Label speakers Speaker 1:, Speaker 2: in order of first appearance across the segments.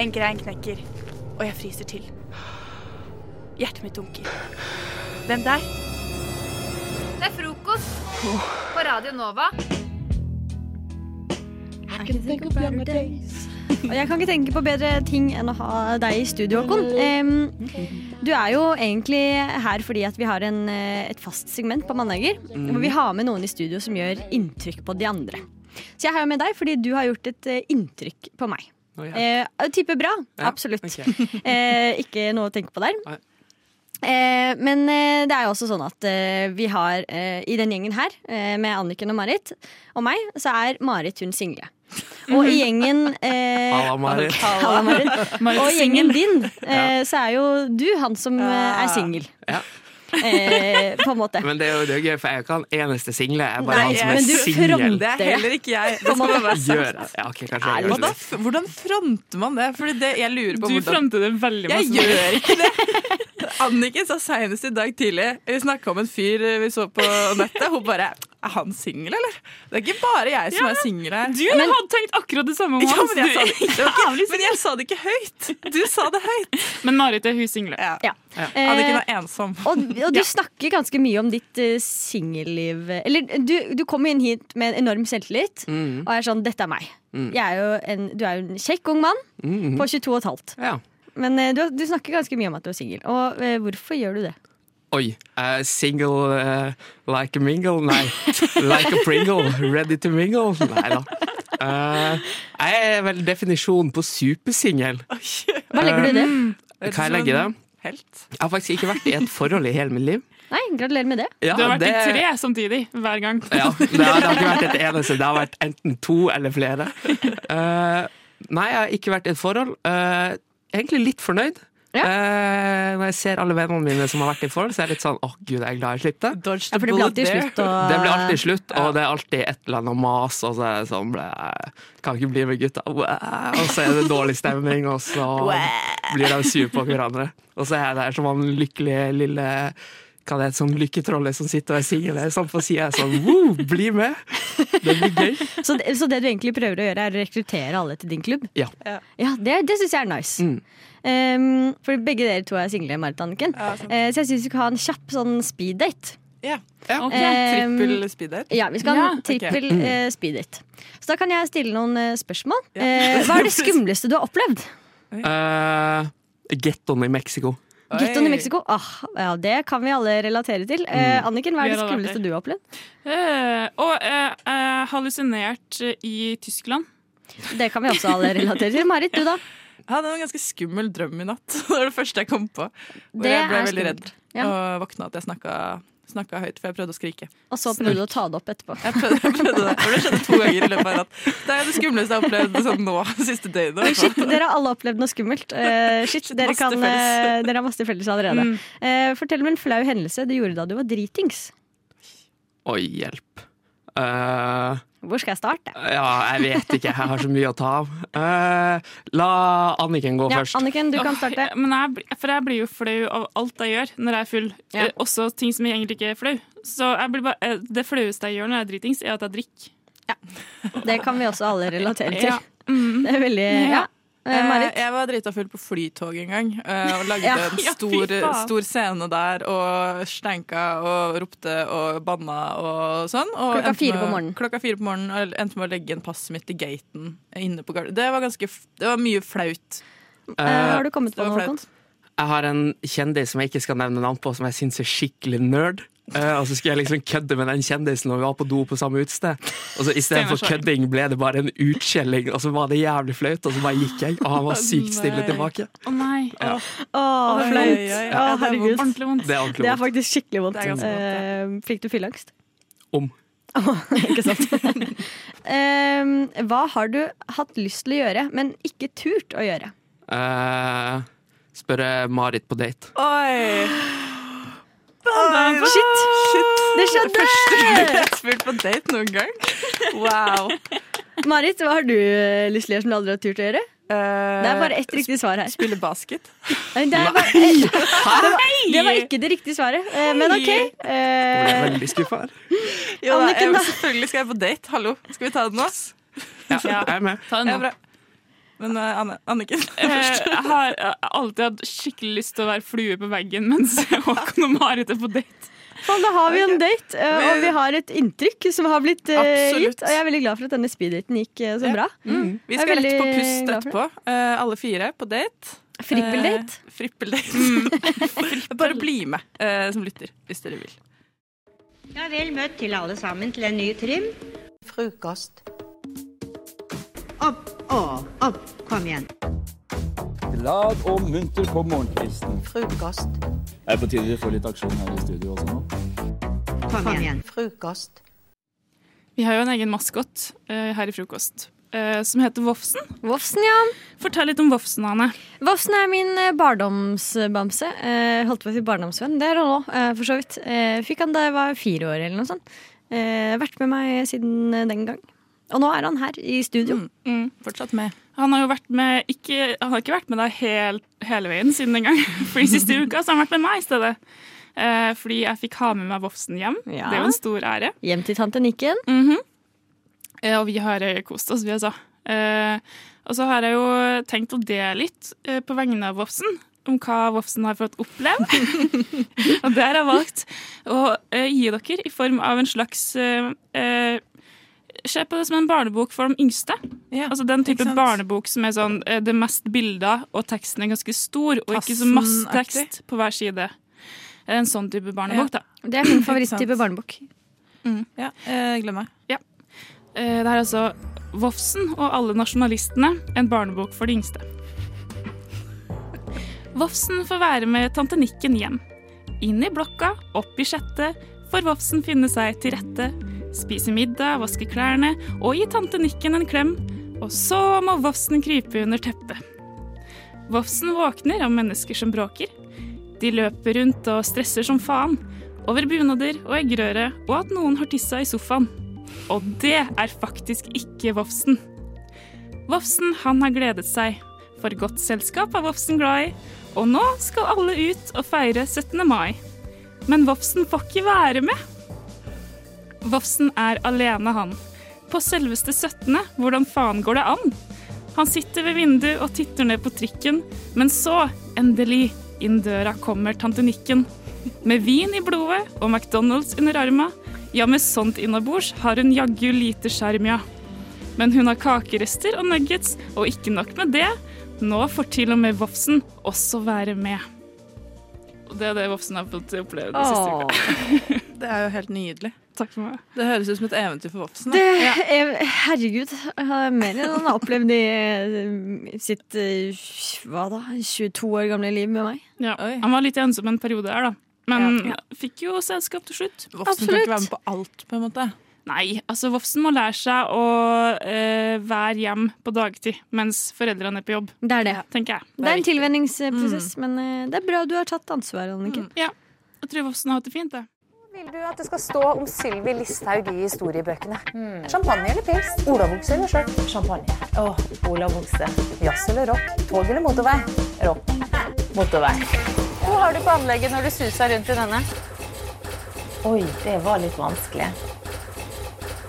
Speaker 1: En grein knekker, og jeg fryser til. Hjertet mitt dunker. Hvem der?
Speaker 2: Det er frokost på Radio Nova.
Speaker 3: Og jeg kan ikke tenke på bedre ting enn å ha deg i studio, Håkon. Em, du er jo egentlig her fordi at vi har en, eh, et fast segment på mandager hvor vi har med noen i studio som gjør inntrykk på de andre. Så jeg er her med deg fordi du har gjort et eh, inntrykk på meg.
Speaker 4: Å, ja.
Speaker 3: Eh, jeg tipper bra.
Speaker 4: Ja,
Speaker 3: Absolutt.
Speaker 4: ok.
Speaker 3: eh, ikke noe å tenke på der.
Speaker 4: Nei.
Speaker 3: Eh, men eh, det er jo også sånn at eh, vi har eh, i den gjengen her, eh, med Anniken og Marit og meg, så er Marit hun single. Og i gjengen eh,
Speaker 4: Halla, Marit.
Speaker 3: Halla, Marit.
Speaker 5: Marit
Speaker 3: Og i gjengen din,
Speaker 4: Ja.
Speaker 3: eh, så er jo du han som eh, er singel.
Speaker 4: Ja.
Speaker 3: Eh, på en måte.
Speaker 4: Men det er jo det er gøy, for jeg er jo ikke han eneste single. Jeg er
Speaker 1: Nei,
Speaker 4: bare han som
Speaker 1: men
Speaker 4: er
Speaker 3: du
Speaker 4: singel.
Speaker 3: fronter-
Speaker 5: Det er heller ikke jeg. Det skal bare være sagt.
Speaker 4: Gjør jeg. Ja, ok, kanskje jeg
Speaker 3: Ærlig.
Speaker 4: gjør det.
Speaker 5: Hvordan, hvordan fronter man det? Fordi det, jeg lurer på
Speaker 6: Du
Speaker 5: hvordan
Speaker 6: fronter det veldig
Speaker 5: Jeg
Speaker 6: masse.
Speaker 5: gjør ikke det! Anniken sa senest i dag tidlig Vi snakka om en fyr eh, vi så på nettet. Hun bare Er han singel, eller? Det er ikke bare jeg som er singel her.
Speaker 6: Du hadde tenkt akkurat det samme om
Speaker 5: ja,
Speaker 6: hans.
Speaker 5: men, jeg sa det,
Speaker 6: du.
Speaker 5: det var ikke, men jeg sa det ikke høyt! Du sa det høyt.
Speaker 6: men Marit er hun single.
Speaker 5: Ja.
Speaker 3: Ja.
Speaker 5: Anniken
Speaker 3: Eh,
Speaker 5: var ensom.
Speaker 3: og, og du snakker ganske mye om ditt uh, singelliv. Eller du, du kom inn hit med en enorm selvtillit.
Speaker 4: Mhm.
Speaker 3: Og jeg er sånn, dette er meg.
Speaker 4: Mm.
Speaker 3: Jeg er jo en, du er jo en kjekk ung mann
Speaker 4: Mhm.
Speaker 3: på 22 15.
Speaker 4: Ja.
Speaker 3: Men eh, du, du snakker ganske mye om at du er singel. Og eh, hvorfor gjør du det?
Speaker 4: Oi. eh, single eh, like a mingle? Nei. Like a pringle. Ready to mingle? Nei da. Eh, jeg er vel definisjonen på supersingel.
Speaker 3: Hva legger du i det?
Speaker 6: Mm.
Speaker 4: Hva jeg legger i det?
Speaker 5: Helt.
Speaker 4: Jeg har faktisk ikke vært i et forhold i hele mitt liv.
Speaker 3: Nei, gratulerer med det.
Speaker 4: Ja,
Speaker 6: Du har vært
Speaker 4: det-
Speaker 6: i tre samtidig hver gang.
Speaker 4: Ja, det har, det har ikke vært et eneste. Det har vært enten to eller flere. Eh, nei, jeg har ikke vært i et forhold. Eh, egentlig litt fornøyd.
Speaker 3: Ja.
Speaker 4: Eh, når jeg ser alle vennene mine som har vært i forhold, så er jeg litt sånn åh gud, jeg er glad jeg slapp det.
Speaker 5: Dodge
Speaker 3: Ja,
Speaker 5: the
Speaker 3: for det blir
Speaker 5: bullet
Speaker 3: alltid
Speaker 5: there.
Speaker 3: slutt å
Speaker 4: Det blir alltid slutt, og det er alltid et eller annet mas. Og så er det sånn ble- Kan ikke bli med gutta. Wow. Og så er det dårlig stemning, og så blir de sure på hverandre. Og så er jeg der som han lykkelige lille hva det heter, sånn lykketrollet som sitter og er singel her, sånn på sida. Sånn, woo, bli med! Det blir gøy.
Speaker 3: Så, det- så det du egentlig prøver å gjøre, er å rekruttere alle til din klubb?
Speaker 4: Ja.
Speaker 3: Ja, Det, det syns jeg er nice.
Speaker 4: Mm.
Speaker 3: Ehm, for begge dere to er single, Marit og Anniken. Eh, så jeg syns vi skal ha en kjapp sånn speeddate.
Speaker 5: Ja.
Speaker 6: Ok.
Speaker 3: Ehm,
Speaker 5: Trippel speed date. Mm.
Speaker 3: Ja, vi skal ha en
Speaker 6: Ja,
Speaker 5: ok.
Speaker 3: trippel eh, speeddate. Så da kan jeg stille noen eh, spørsmål. Eh, hva er det skumleste du har opplevd?
Speaker 4: Uh, Gettoen i Mexico.
Speaker 3: Gettoen i Mexico? Ah, ja, det kan vi alle relatere til.
Speaker 5: Mm.
Speaker 3: Eh, Anniken, hva er
Speaker 6: Vi
Speaker 3: det
Speaker 6: har alle vært
Speaker 3: skumleste du har opplevd?
Speaker 6: Eh, og eh, eh, hallusinert eh, i Tyskland.
Speaker 3: Det kan vi også alle relatere til. Marit, du da?
Speaker 5: Jeg hadde en ganske skummel drøm i natt. Det var det første jeg kom på. Hvor
Speaker 3: Det
Speaker 5: jeg ble
Speaker 3: er
Speaker 5: veldig
Speaker 3: skummelt.
Speaker 5: redd
Speaker 3: Ja.
Speaker 5: og våkna at jeg snakka, snakka høyt, for jeg prøvde å skrike.
Speaker 3: Og så prøvde du å ta det opp etterpå.
Speaker 5: Jeg prøvde, jeg prøvde det, for det skjedde to ganger i løpet av en natt. Det er det skumleste jeg har opplevd sånn nå, siste døgnet. i hvert fall.
Speaker 3: Shit, dere har alle opplevd noe skummelt. Eh, shit,
Speaker 5: Shit,
Speaker 3: dere,
Speaker 5: masse
Speaker 3: kan, eh,
Speaker 5: felles. Mm.
Speaker 3: dere har masse felles allerede. Eh, fortell om en flau hendelse du gjorde da du var dritings.
Speaker 4: Oi, hjelp. Eh,
Speaker 3: Hvor skal jeg starte?
Speaker 4: ja, jeg vet ikke. Jeg har så mye å ta av. Eh, la Anniken gå
Speaker 3: Ja,
Speaker 4: først.
Speaker 3: Anniken, du kan
Speaker 6: Åh,
Speaker 3: starte.
Speaker 6: jeg- eh, Men jeg, blir- for jeg blir jo flau av alt jeg gjør når jeg er full.
Speaker 3: Ja.
Speaker 6: Eh, også ting som jeg egentlig ikke er flau. Så jeg blir bare, eh, det flaueste jeg gjør når jeg er dritings, er at jeg drikker.
Speaker 3: Det kan vi også alle relatere til.
Speaker 6: Ja. Mm.
Speaker 3: Det er veldig Ja. Eh,
Speaker 5: Eh,
Speaker 3: Marit?
Speaker 5: Jeg var drita full på flytog en gang eh, og lagde
Speaker 3: Ja.
Speaker 5: en
Speaker 6: Ja, fy
Speaker 5: stor,
Speaker 6: faen.
Speaker 5: stor scene der og steinka og ropte og banna og sånn. Og
Speaker 3: Klokka
Speaker 5: endte
Speaker 3: fire
Speaker 5: med-
Speaker 3: på morgenen.
Speaker 5: Klokka fire på morgenen og endte med å legge en pass mitt i gaten inne på gard- Det var ganske f- Det var mye flaut.
Speaker 3: Eh, har du kommet
Speaker 5: Det
Speaker 3: på
Speaker 5: var
Speaker 3: noe,
Speaker 5: flaut.
Speaker 3: Håkon?
Speaker 4: Jeg har en kjendis som jeg ikke skal nevne navn på, som jeg syns er skikkelig nerd. Eh, og så skulle jeg liksom kødde med den kjendisen når vi var på do på samme utested. Og så istedenfor
Speaker 6: Steinar Sagen.
Speaker 4: kødding ble det bare en utskjelling, og så var det jævlig flaut. Og så bare gikk jeg, og han var sykt stille
Speaker 5: Nei.
Speaker 4: tilbake.
Speaker 6: Å nei.
Speaker 4: Ja.
Speaker 6: Åh,
Speaker 3: Å,
Speaker 5: Eh, Oi,
Speaker 3: flaut.
Speaker 5: oi, oi.
Speaker 3: Å,
Speaker 5: Ja, det er
Speaker 3: herregud.
Speaker 6: ordentlig vondt.
Speaker 4: Det er ordentlig
Speaker 3: Det er
Speaker 4: vondt.
Speaker 3: faktisk skikkelig vondt.
Speaker 5: Det er ganske
Speaker 3: Eh, fikk du fylleangst?
Speaker 4: Om.
Speaker 3: Å, ikke sant. Ehm, hva har du hatt lyst til å gjøre, men ikke turt å gjøre?
Speaker 4: Eh, spørre Marit på date.
Speaker 5: Oi!
Speaker 3: Shit, det skjedde!
Speaker 5: Jeg har spilt på date noen gang. Wow.
Speaker 3: Marit, hva har du eh, lyst til å gjøre som du aldri har turt å gjøre? Det er bare
Speaker 5: Eh,
Speaker 3: ett riktig svar her.
Speaker 5: Spille basket.
Speaker 3: Nei, Det, er bare, det, var, det var ikke det riktige svaret, eh, men OK.
Speaker 4: Jeg ble
Speaker 3: Eh,
Speaker 4: veldig skuffa her.
Speaker 5: Jo, da,
Speaker 3: Anniken,
Speaker 5: jeg,
Speaker 3: da?
Speaker 5: selvfølgelig skal jeg på date. Hallo. Skal vi ta det nå?
Speaker 4: Ja, jeg er med.
Speaker 6: Ta
Speaker 5: Ja,
Speaker 6: en nå.
Speaker 5: bra. Men eh, Anne, Anniken
Speaker 6: Eh, Jeg har eh, alltid hatt skikkelig lyst til å være flue på veggen mens Håkon og Marit er på date.
Speaker 3: Faen, da har vi en date, eh, og
Speaker 5: Men-
Speaker 3: vi har et inntrykk som har blitt eh,
Speaker 5: Absolutt.
Speaker 3: gitt. Og jeg er veldig glad for at denne speeddaten gikk eh, så
Speaker 5: Ja. Mm.
Speaker 3: bra.
Speaker 5: Vi
Speaker 3: Jeg er
Speaker 5: skal rett på
Speaker 3: veldig
Speaker 5: pust
Speaker 3: glad for
Speaker 5: etterpå. Eh, alle fire på date.
Speaker 3: Frippeldate. Mm.
Speaker 5: Eh, frippeldate. Bare bli med eh, som lytter, hvis dere vil.
Speaker 4: Ja, vel møtt til alle sammen til en ny trim. Frokost. Opp og opp. Kom igjen.
Speaker 7: Glad og munter på morgenkvisten.
Speaker 4: Frokost.
Speaker 7: Det er på tide vi får litt aksjon her i studio også nå.
Speaker 4: Kom, igjen. Frokost.
Speaker 6: Vi har jo en egen maskot eh, her i Frokost, eh, som heter Vofsen.
Speaker 3: Vofsen, ja.
Speaker 6: Fortell litt om Vofsen, Anne.
Speaker 3: Vofsen er min eh, barndomsbamse. Eh, holdt på å si barndomsvenn. Det er han òg, eh, for så vidt. Eh, fikk han da jeg var fire år eller noe sånt. Eh, vært med meg siden eh, den gang. Og nå er han her i studio.
Speaker 6: Mm,
Speaker 5: Fortsatt med.
Speaker 6: Han har jo vært med, ikke, han har ikke vært med deg hel, hele veien siden den gang. For i siste uka så har han vært med meg i stedet. Eh, fordi jeg fikk ha med meg Vofsen hjem.
Speaker 3: Ja.
Speaker 6: Det er jo en stor ære.
Speaker 3: Hjem til tante Nikken.
Speaker 6: Mm-hmm. Eh, og vi har eh, kost oss, vi altså. Eh, og så har jeg jo tenkt å dele litt eh, på vegne av Vofsen. Om hva Vofsen har fått oppleve. og det har jeg valgt å eh, gi dere i form av en slags eh, eh, Se på det som en barnebok for de yngste.
Speaker 5: Ja,
Speaker 6: Altså Den type
Speaker 5: ikke sant?
Speaker 6: barnebok som er sånn eh, det mest bilder, og teksten er ganske stor, og ikke så masse
Speaker 5: Tassenaktig.
Speaker 6: tekst på hver side. En sånn type barnebok, da.
Speaker 3: Det er min
Speaker 5: Ikke
Speaker 3: favoritttype
Speaker 5: sant.
Speaker 3: barnebok.
Speaker 5: Ja, eh, glem meg.
Speaker 6: Mm. Eh, Det er altså Vofsen og alle nasjonalistene, en barnebok for de yngste. Vofsen får være med tante Nikken hjem. Inn i blokka, opp i sjette, får Vofsen finne seg til rette. Spise middag, vaske klærne og gi tante Nikken en klem. Og så må Vofsen krype under teppet. Vofsen våkner av mennesker som bråker. De løper rundt og stresser som faen. Over bunader og eggerøre, og at noen har tissa i sofaen. Og det er faktisk ikke Vofsen. Vofsen han har gledet seg, for godt selskap er Vofsen glad i, og nå skal alle ut og feire 17. mai. Men Vofsen får ikke være med. Vofsen er alene, han. På selveste 17., hvordan faen går det an? Han sitter ved vinduet og titter ned på trikken, men så, endelig, inn døra kommer tante Nikken. Med vin i blodet og McDonald's under arma, ja, med sånt innabords har hun jaggu lite skjerm, ja. Men hun har kakerester og nuggets, og ikke nok med det, nå får til og med Vofsen også være med. Og det er det Vofsen har fått oppleve den siste uka.
Speaker 5: Det er jo helt nydelig.
Speaker 6: Takk for meg.
Speaker 5: Det høres ut som et eventyr for
Speaker 6: Sånn,
Speaker 5: voksne.
Speaker 3: Det, jeg, herregud, jeg har mer enn han har opplevd i eh, sitt eh, hva da, 22 år gamle liv med meg.
Speaker 6: Ja.
Speaker 5: Oi.
Speaker 6: Han var litt ensom en periode her, da. Men
Speaker 5: Ja,
Speaker 6: fikk jo selskap til slutt.
Speaker 5: Voksne kan
Speaker 3: absolutt.
Speaker 5: ikke være med på alt, på en måte.
Speaker 6: Nei, altså Vofsen må lære seg å eh, være hjem på dagtid mens foreldrene er på jobb,
Speaker 3: Det er det.
Speaker 6: tenker jeg.
Speaker 3: Det er en tilvenningsprosess, men eh, det er bra du har tatt ansvar, Anniken.
Speaker 6: Ja, jeg tror Vofsen har hatt det fint, det.
Speaker 8: Vil du at det skal stå om Sylvi Listhaug i historiebøkene?
Speaker 5: Hmm.
Speaker 8: Champagne eller pils? Olavokse eller skjørt? Champagne. Åh, Olavokse. Jazz eller rock? Tog eller motorvei? Rock. Motorvei. Hva har du på anlegget når du suser rundt i denne? Oi, det var litt vanskelig.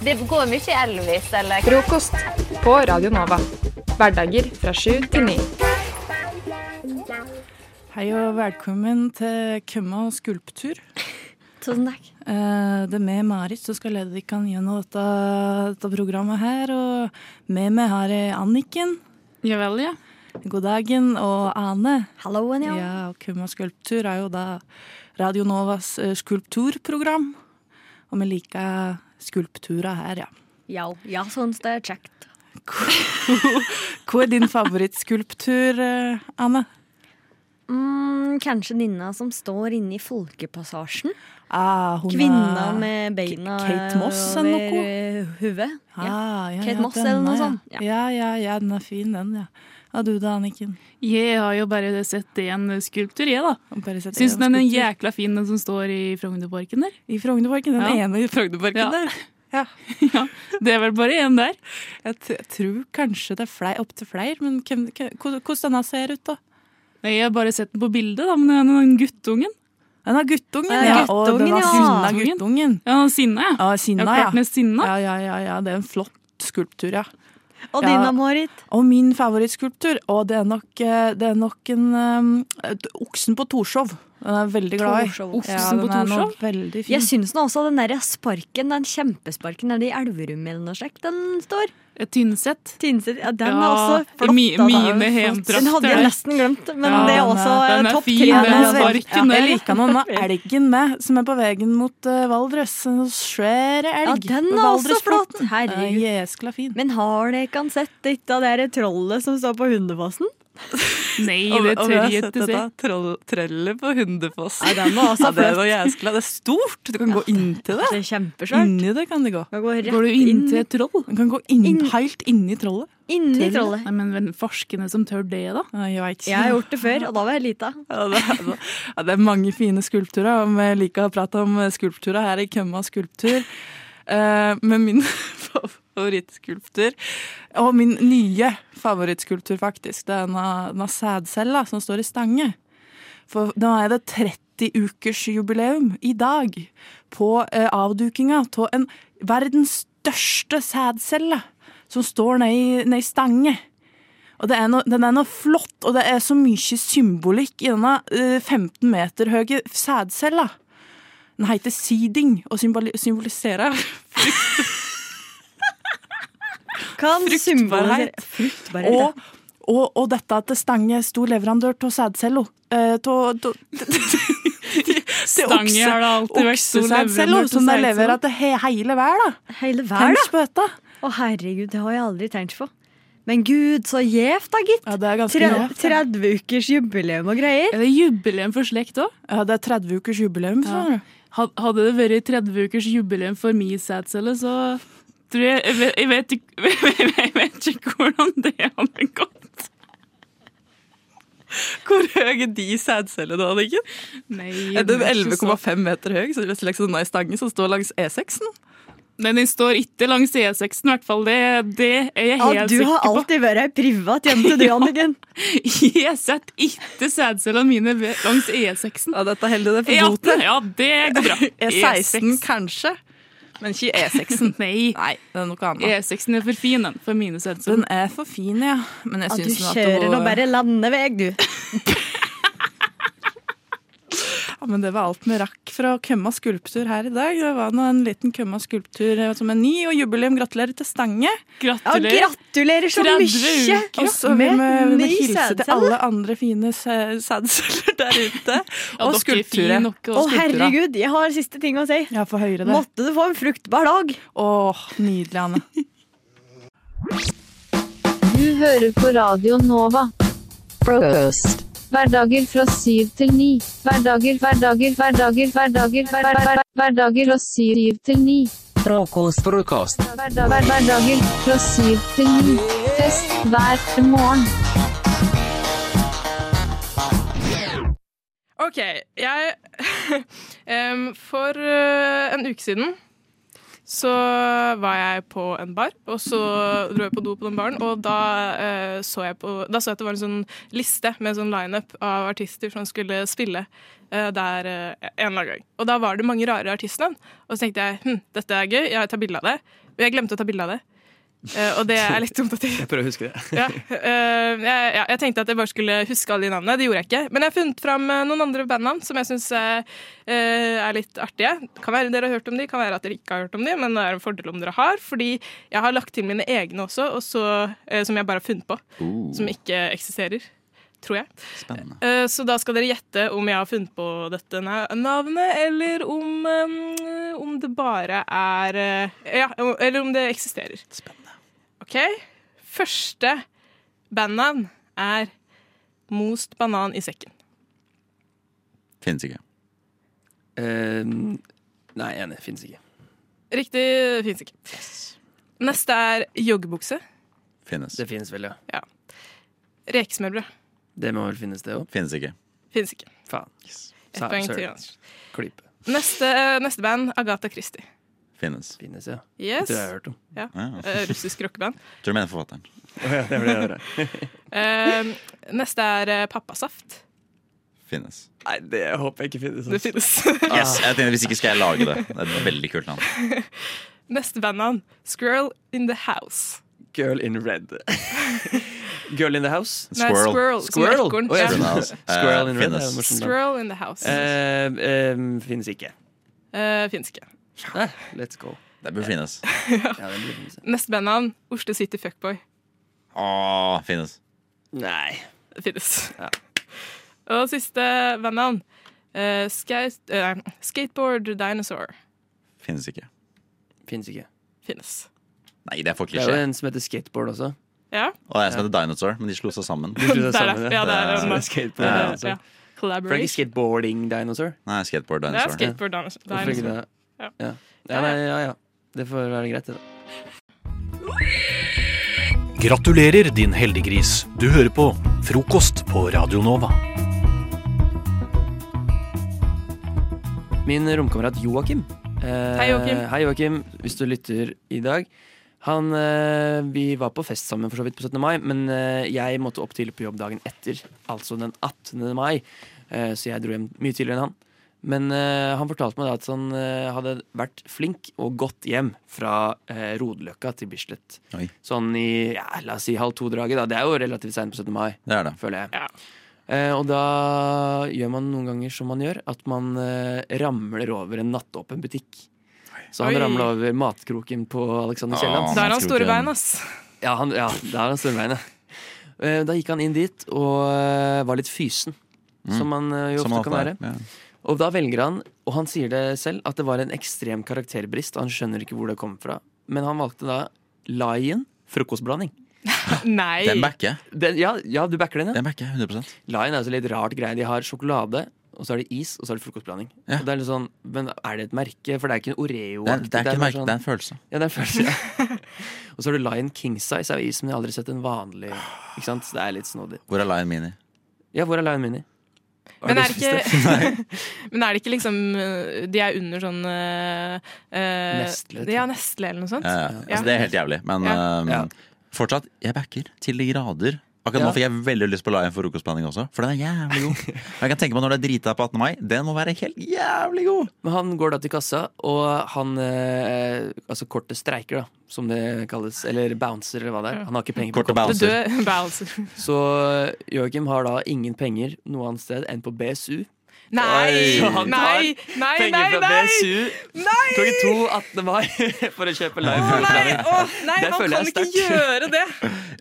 Speaker 8: Det går mye Elvis, eller?
Speaker 9: Frokost på Radio Nova. Hverdager fra sju til ni.
Speaker 5: Hei og velkommen til Kømma skulptur.
Speaker 3: Tusen takk.
Speaker 5: Eh, Det er meg, Marit, som skal lede dere gjennom dette, dette programmet her. Og med meg har jeg Anniken.
Speaker 6: Ja vel, ja.
Speaker 5: God dagen. Og Ane.
Speaker 3: Hallo, Anja.
Speaker 5: Ja, og Kuma Skulptur er jo da Radio Novas eh, skulpturprogram. Og vi liker skulpturer her, ja.
Speaker 3: Ja, ja sånn det er kjekt.
Speaker 5: Hva er din favorittskulptur, eh, Anne?
Speaker 3: Mm, kanskje Nina som står inne i Folkepassasjen.
Speaker 5: Ah, hun er-
Speaker 3: Kvinna med beina
Speaker 5: Kate Moss eller noe?
Speaker 3: over eh, huvet. Ja.
Speaker 5: ah, ja,
Speaker 3: Kate
Speaker 5: ja,
Speaker 3: Moss eller noe
Speaker 5: denne, ja.
Speaker 3: sånt, ja.
Speaker 5: Ja, ja, ja, den er fin, den, ja. Ja, du da, Anniken?
Speaker 6: Jeg har jo bare sett én skulptur, jeg, da.
Speaker 5: Bare sett
Speaker 6: Syns
Speaker 5: en
Speaker 6: du den er
Speaker 5: skulptur.
Speaker 6: jækla fin, den som står i Frognerparken der?
Speaker 5: I Frognerparken, den
Speaker 6: Ja.
Speaker 5: ene i Frognerparken
Speaker 6: Ja.
Speaker 5: der. Ja.
Speaker 6: Det er vel bare én der.
Speaker 5: Jeg, t jeg tror kanskje det er flei, opp til flere, men hvem, hvem, hvordan denne ser ut da?
Speaker 6: Nei, jeg har bare sett den på bildet, da, men den, den guttungen.
Speaker 5: Den er guttungen,
Speaker 3: Den er
Speaker 5: ja. Å, den
Speaker 3: guttungen,
Speaker 5: er
Speaker 3: ja.
Speaker 5: sinna guttungen.
Speaker 6: Ja, Sinna, ja.
Speaker 5: Ja,
Speaker 6: Ja,
Speaker 5: sinna, ja.
Speaker 6: klart med Sinna.
Speaker 5: Ja, ja, ja, ja. Det er en flott skulptur, ja.
Speaker 3: Og din, da, Marit?
Speaker 5: Og min favorittskulptur? Og det er nok, eh, det er nok en eh, Oksen på Torshov. Den er jeg veldig glad i.
Speaker 3: Torshov.
Speaker 5: Ja,
Speaker 3: Oksen på
Speaker 5: den er noe
Speaker 3: Torshov?
Speaker 5: Veldig fin.
Speaker 3: Jeg syns nå også den der sparken, den kjempesparken nede i Elverum eller noe slik, den står.
Speaker 5: Eh,
Speaker 6: Tynset.
Speaker 3: ja, den er
Speaker 6: Ja,
Speaker 3: også flott.
Speaker 6: mi-
Speaker 3: da.
Speaker 6: mine
Speaker 3: Den er flott.
Speaker 6: hjemtrakter.
Speaker 3: Den hadde jeg nesten glemt, men
Speaker 6: Ja,
Speaker 3: det er
Speaker 6: den
Speaker 3: også eh,
Speaker 6: er- den er
Speaker 3: topp
Speaker 6: fin,
Speaker 3: tre.
Speaker 6: den
Speaker 3: nå.
Speaker 5: Ja,
Speaker 6: sparken der.
Speaker 5: jeg liker noen av elgen med, som er på veien mot eh, Valdres. En svær
Speaker 3: Ja,
Speaker 5: elg.
Speaker 3: den er også flott!
Speaker 5: Valdresfloten.
Speaker 3: Herregud.
Speaker 5: Eh, Jeskla fin.
Speaker 3: Men har dere ikke sett dette der trollet som står på Hundefossen?
Speaker 6: Nei,
Speaker 5: Og-
Speaker 6: det
Speaker 5: og vi
Speaker 6: tør
Speaker 5: har
Speaker 6: jeg
Speaker 5: sett
Speaker 6: ikke si.
Speaker 5: dette troll- Trellet på Hundefoss.
Speaker 3: Nei, den var også
Speaker 5: Ja, det er
Speaker 3: flott.
Speaker 5: noe jæskla. Det er stort! Du kan gå inntil det.
Speaker 3: Det er kjempesvært.
Speaker 5: Inni det kan det gå.
Speaker 3: Kan gå rett
Speaker 6: Går du inn til et troll?
Speaker 5: Du kan gå inn,
Speaker 3: Inn-
Speaker 5: helt inni trollet.
Speaker 3: inni trollet?
Speaker 6: Nei, men hvem- forskerne som tør det, da?
Speaker 5: Nei, Jeg vet ikke.
Speaker 3: Jeg har gjort det før, og da var jeg lita.
Speaker 5: Ja, det, er, Altså, ja, det er mange fine skulpturer, og vi liker å prate om skulpturer her i Kømma skulptur. Eh, Men min favorittskulptur, og min nye favorittskulptur faktisk, det er en av- en av sædcella som står i stange. For nå er det 30 ukers jubileum i dag på eh, avdukinga av en verdens største sædcelle som står nede i- nede i stange. Og det er noe, den er noe flott, og det er så mye symbolikk i denne eh, 15 meter høye sædcella. Den heter seeding og symboli- symboliserer
Speaker 3: Kan
Speaker 5: Fruktbarhet.
Speaker 3: symbolisere- Fruktbarhet. ja.
Speaker 5: og, og, og dette at Stange er stor leverandør av sædceller. eh, til- til- til- til
Speaker 6: Stange
Speaker 5: okse-
Speaker 6: har da alltid vært stor
Speaker 5: oksesædceller,
Speaker 6: leverandør til
Speaker 5: Som de
Speaker 6: sædceller.
Speaker 5: leverer til he, hele verden.
Speaker 3: Hele hver, da.
Speaker 5: Tenk på dette.
Speaker 3: Å herregud, det har jeg aldri tenkt på. Men gud, så gjevt da, gitt.
Speaker 5: Ja, det er ganske
Speaker 3: Tre-
Speaker 5: gjevt.
Speaker 3: 30 ukers jubileum og greier.
Speaker 6: Er det jubileum for slekt òg?
Speaker 5: Ja, det er 30 ukers jubileum. sa du.
Speaker 6: Hadde det vært 30 ukers jubileum for min sædcelle, så tror jeg jeg vet, jeg, vet, ikke- jeg vet ikke hvordan det hadde gått.
Speaker 5: Hvor høy er de sædcellene, da, Anniken?
Speaker 6: Nei,
Speaker 5: Er den
Speaker 6: den er ikke så-
Speaker 5: 11,5 meter høy? Så det er liksom en stange som står langs E E6-en?
Speaker 6: Men den står ikke langs E6-en, i hvert fall. Det, det er jeg helt
Speaker 3: Ja, du
Speaker 6: sikker
Speaker 3: har
Speaker 6: på.
Speaker 3: alltid vært ei privat jente, du, Anniken.
Speaker 6: Jeg setter ikke sædcellene mine ved- langs E6-en.
Speaker 5: Ja, dette er heldig det er
Speaker 6: E18, ja, det går bra.
Speaker 5: E
Speaker 6: E
Speaker 3: E
Speaker 5: E16 kanskje, men ikke E6-en.
Speaker 6: Nei,
Speaker 5: Nei, det er noe annet.
Speaker 3: E
Speaker 6: E6-en er for fin den, for mine sædceller.
Speaker 5: Den er for fin, ja. Men jeg
Speaker 3: Ja, du
Speaker 5: syns nå
Speaker 3: kjører nå bare landeveg, du.
Speaker 5: Ja, men det var alt vi rakk fra Kømma skulptur her i dag. Det var nå en liten Kømma skulptur eh, som er ny, og jubileum. Gratulerer til Stange.
Speaker 3: Ja,
Speaker 6: Gratulerer.
Speaker 3: gratulerer så
Speaker 6: 30
Speaker 3: mye!
Speaker 6: uker.
Speaker 5: Og så vil vi,
Speaker 3: Med
Speaker 5: vil vi
Speaker 3: ny
Speaker 5: hilse til
Speaker 3: sædcelle.
Speaker 5: alle andre fine sæ- sædceller der ute.
Speaker 6: Ja,
Speaker 5: Og
Speaker 6: dere er
Speaker 5: skulpturer.
Speaker 6: fin nok, og
Speaker 3: Å
Speaker 6: skulpturer.
Speaker 3: herregud, jeg har siste ting å si.
Speaker 5: Ja, få høre det.
Speaker 3: Måtte du få en fruktbar dag.
Speaker 5: Åh, nydelig, Anne.
Speaker 2: Du hører på Radio Nova. Frokost. Hverdager fra syv til ni. Hverdager, hverdager, hverdager, hverdager, hver- hver- hver- hverdager fra syv til ni.
Speaker 10: Frokost. Frokost.
Speaker 2: Hverdag- hver- Hverdager fra syv til ni. Fest hver morgen.
Speaker 11: OK, jeg em, For eh, en uke siden så var jeg på en bar, og så dro jeg på do på den baren. Og da, eh, så, jeg på, da så jeg at det var en sånn liste med en sånn lineup av artister som skulle spille eh, der eh, en eller annen gang. Og da var det mange rare artistnavn. Og så tenkte jeg hm, dette er gøy, jeg tar bilde av det. Men jeg glemte å ta bilde av det. Eh, og det er litt dumt at jeg
Speaker 12: Jeg prøver å huske det.
Speaker 11: ja, øh, jeg, ja, jeg tenkte at jeg bare skulle huske alle de navnene. Det gjorde jeg ikke. Men jeg har funnet fram øh, noen andre bandnavn som jeg syns er litt artige. Det kan være dere har hørt om de, kan være at dere ikke har hørt om de, men det er en fordel om dere har. Fordi jeg har lagt til mine egne også, og så, øh, som jeg bare har funnet på.
Speaker 12: Oh.
Speaker 11: Som ikke eksisterer. Tror jeg.
Speaker 12: Spennende.
Speaker 11: Eh, Så da skal dere gjette om jeg har funnet på dette na- navnet, eller om, eh, om det bare er eh, Ja, eller om det eksisterer. Spennende. OK. Første bandnavn er Most banan i sekken.
Speaker 12: Finnes ikke. Ehm, nei, enig. Finnes ikke.
Speaker 11: Riktig fins ikke. Neste er joggebukse.
Speaker 12: Finnes. Det finnes vel, ja.
Speaker 11: Ja. Rekesmørbrød.
Speaker 12: Det må vel finnes, det òg. Finnes ikke.
Speaker 11: Fins ikke.
Speaker 12: Faen.
Speaker 11: Ett poeng til Jonas.
Speaker 12: Klype.
Speaker 11: Neste, neste band Agatha Christie.
Speaker 13: Finnes.
Speaker 12: Finnes, ja.
Speaker 11: Yes.
Speaker 12: Det tror jeg jeg har hørt om.
Speaker 11: Ja.
Speaker 13: Ja.
Speaker 11: Eh, Russisk rockeband.
Speaker 13: Tror du mener forfatteren?
Speaker 12: det var det jeg hørte.
Speaker 11: Eh, neste er eh, pappasaft.
Speaker 13: Finnes.
Speaker 12: Nei, det håper jeg ikke finnes. altså.
Speaker 11: Det finnes.
Speaker 12: Ah.
Speaker 13: Yes, jeg tenkte, Hvis ikke skal jeg lage det. Det er et veldig kult navn.
Speaker 11: Neste bandnavn Squirrel in the House.
Speaker 12: Girl in red. Girl in the house?
Speaker 11: Nei, Squirrel. squirrel, som er
Speaker 12: Squirrel,
Speaker 11: ekorn.
Speaker 12: Å, ja.
Speaker 11: Girl in the house.
Speaker 12: Squirrel in red.
Speaker 11: Finnes.
Speaker 12: er jo morsomt navn.
Speaker 11: Squirrel in the house.
Speaker 12: Eh, eh, finnes ikke.
Speaker 11: Uh, Fins ikke.
Speaker 12: Nei, let's go.
Speaker 13: Det bør finnes.
Speaker 12: Ja, den burde finnes.
Speaker 11: Neste bandnavn Oslo City Fuckboy.
Speaker 13: Åh, Ah, finnes.
Speaker 12: Nei.
Speaker 11: Det finnes. Og siste bandnavn eh, skau- eh, Skateboard Dinosaur.
Speaker 13: Finnes ikke.
Speaker 12: Finnes ikke.
Speaker 11: Finnes.
Speaker 13: Nei, det er for
Speaker 12: Det er jo
Speaker 13: klisjé.
Speaker 12: en som heter skateboard også.
Speaker 11: Ja.
Speaker 13: Og det er en som heter Dinosaur, men de slo seg sammen.
Speaker 12: De slo seg
Speaker 11: Der,
Speaker 12: sammen,
Speaker 11: ja, det er
Speaker 12: Så
Speaker 11: en-
Speaker 12: skateboard
Speaker 13: Ja.
Speaker 12: dinosaur.
Speaker 11: Ja.
Speaker 12: For det er ikke
Speaker 11: Collaborate.
Speaker 12: skateboarding dinosaur?
Speaker 13: Nei, skateboard
Speaker 11: Det er dinosaur. skateboard dinosaur-
Speaker 12: Hvorfor ikke
Speaker 11: dinosaur.
Speaker 12: det?
Speaker 11: Ja.
Speaker 12: Ja. Ja, nei, ja, ja. Det får være greit, det. da.
Speaker 14: Gratulerer, din heldiggris. Du hører på Frokost på Radio Nova.
Speaker 12: Min romkamerat Joakim. eh,
Speaker 11: Hei, Joakim.
Speaker 12: Hei, Joakim, hvis du lytter i dag. Han, eh, vi var på fest sammen for så vidt på 17. mai, men eh, jeg måtte opp tidlig på jobb dagen etter, altså den 18. mai. Eh, så jeg dro hjem mye tidligere enn han. Men eh, han fortalte meg da at han eh, hadde vært flink og gått hjem fra eh, Rodeløkka til Bislett.
Speaker 13: Oi.
Speaker 12: Sånn i ja, la oss si halv to-draget. da. Det er jo relativt seint på 17. mai, føler jeg. Eh, og da gjør man noen ganger som man gjør, at man eh, ramler over en nattåpen butikk. Så han
Speaker 11: Oi.
Speaker 12: ramla over matkroken på
Speaker 13: Ah,
Speaker 12: Alexander Kielland.
Speaker 11: Der har han store bein, ass.
Speaker 12: Ja, han, ja der har han store bein, ja. Eh, Da gikk han inn dit og eh, var litt fysen,
Speaker 13: Mm.
Speaker 12: som man eh, jo
Speaker 13: Som
Speaker 12: ofte
Speaker 13: man
Speaker 12: kan
Speaker 13: alltid
Speaker 12: være.
Speaker 13: er, ja.
Speaker 12: Og da velger han, og han sier det selv, at det var en ekstrem karakterbrist. og Han skjønner ikke hvor det kom fra. Men han valgte da Lion frokostblanding.
Speaker 11: Nei.
Speaker 13: Den backer jeg.
Speaker 12: Den, ja, ja, du backer den, ja?
Speaker 13: Den backer jeg 100
Speaker 12: Lion er altså litt rart greie. De har sjokolade, og så har de is, og så har de frokostblanding. Og det er litt sånn, men er det et merke? For det er ikke en Oreo.
Speaker 13: Det er- det er ikke et merke, det er en følelse.
Speaker 12: Ja, det er en følelse. ja. og så har du Lion King Size av is, men jeg har aldri sett en vanlig. Ikke sant? Så det er litt snodig.
Speaker 13: Hvor er Lion Mini?
Speaker 12: Ja, hvor er Lion Mini? Har
Speaker 11: Men
Speaker 12: du
Speaker 11: er, det
Speaker 12: spist det?
Speaker 11: ikke, men er det ikke liksom eh, De er under sånn uh,
Speaker 13: Nestle, tror jeg.
Speaker 11: Ja, Nestle eller noe sånt.
Speaker 13: Ja, ja. Altså, det er helt jævlig, men
Speaker 11: Ja.
Speaker 13: øhm, fortsatt, jeg backer til de grader. Akkurat
Speaker 12: Ja.
Speaker 13: nå fikk jeg veldig lyst på Lion for frokostblanding også, for den er jævlig god. Og jeg kan tenke meg når det er drita på 18. mai, den må være helt jævlig god!
Speaker 12: Men han går da til kassa, og han eh, Altså, kortet streiker, da, som det kalles. Eller bouncer, eller hva det er. Han har ikke penger på
Speaker 13: Kortet bouncer.
Speaker 11: Det døde Bowser.
Speaker 12: Så Joakim har da ingen penger noe annet sted enn på BSU.
Speaker 11: Nei!
Speaker 12: Så han tar
Speaker 11: Nei! Nei, nei,
Speaker 12: penger fra
Speaker 11: nei!
Speaker 12: BSU
Speaker 11: Nei!
Speaker 12: klokken 2 18. mai for å kjøpe live.
Speaker 11: Nei, å, nei
Speaker 12: Det
Speaker 11: han
Speaker 12: føler
Speaker 11: kan
Speaker 12: jeg
Speaker 11: ikke gjøre det!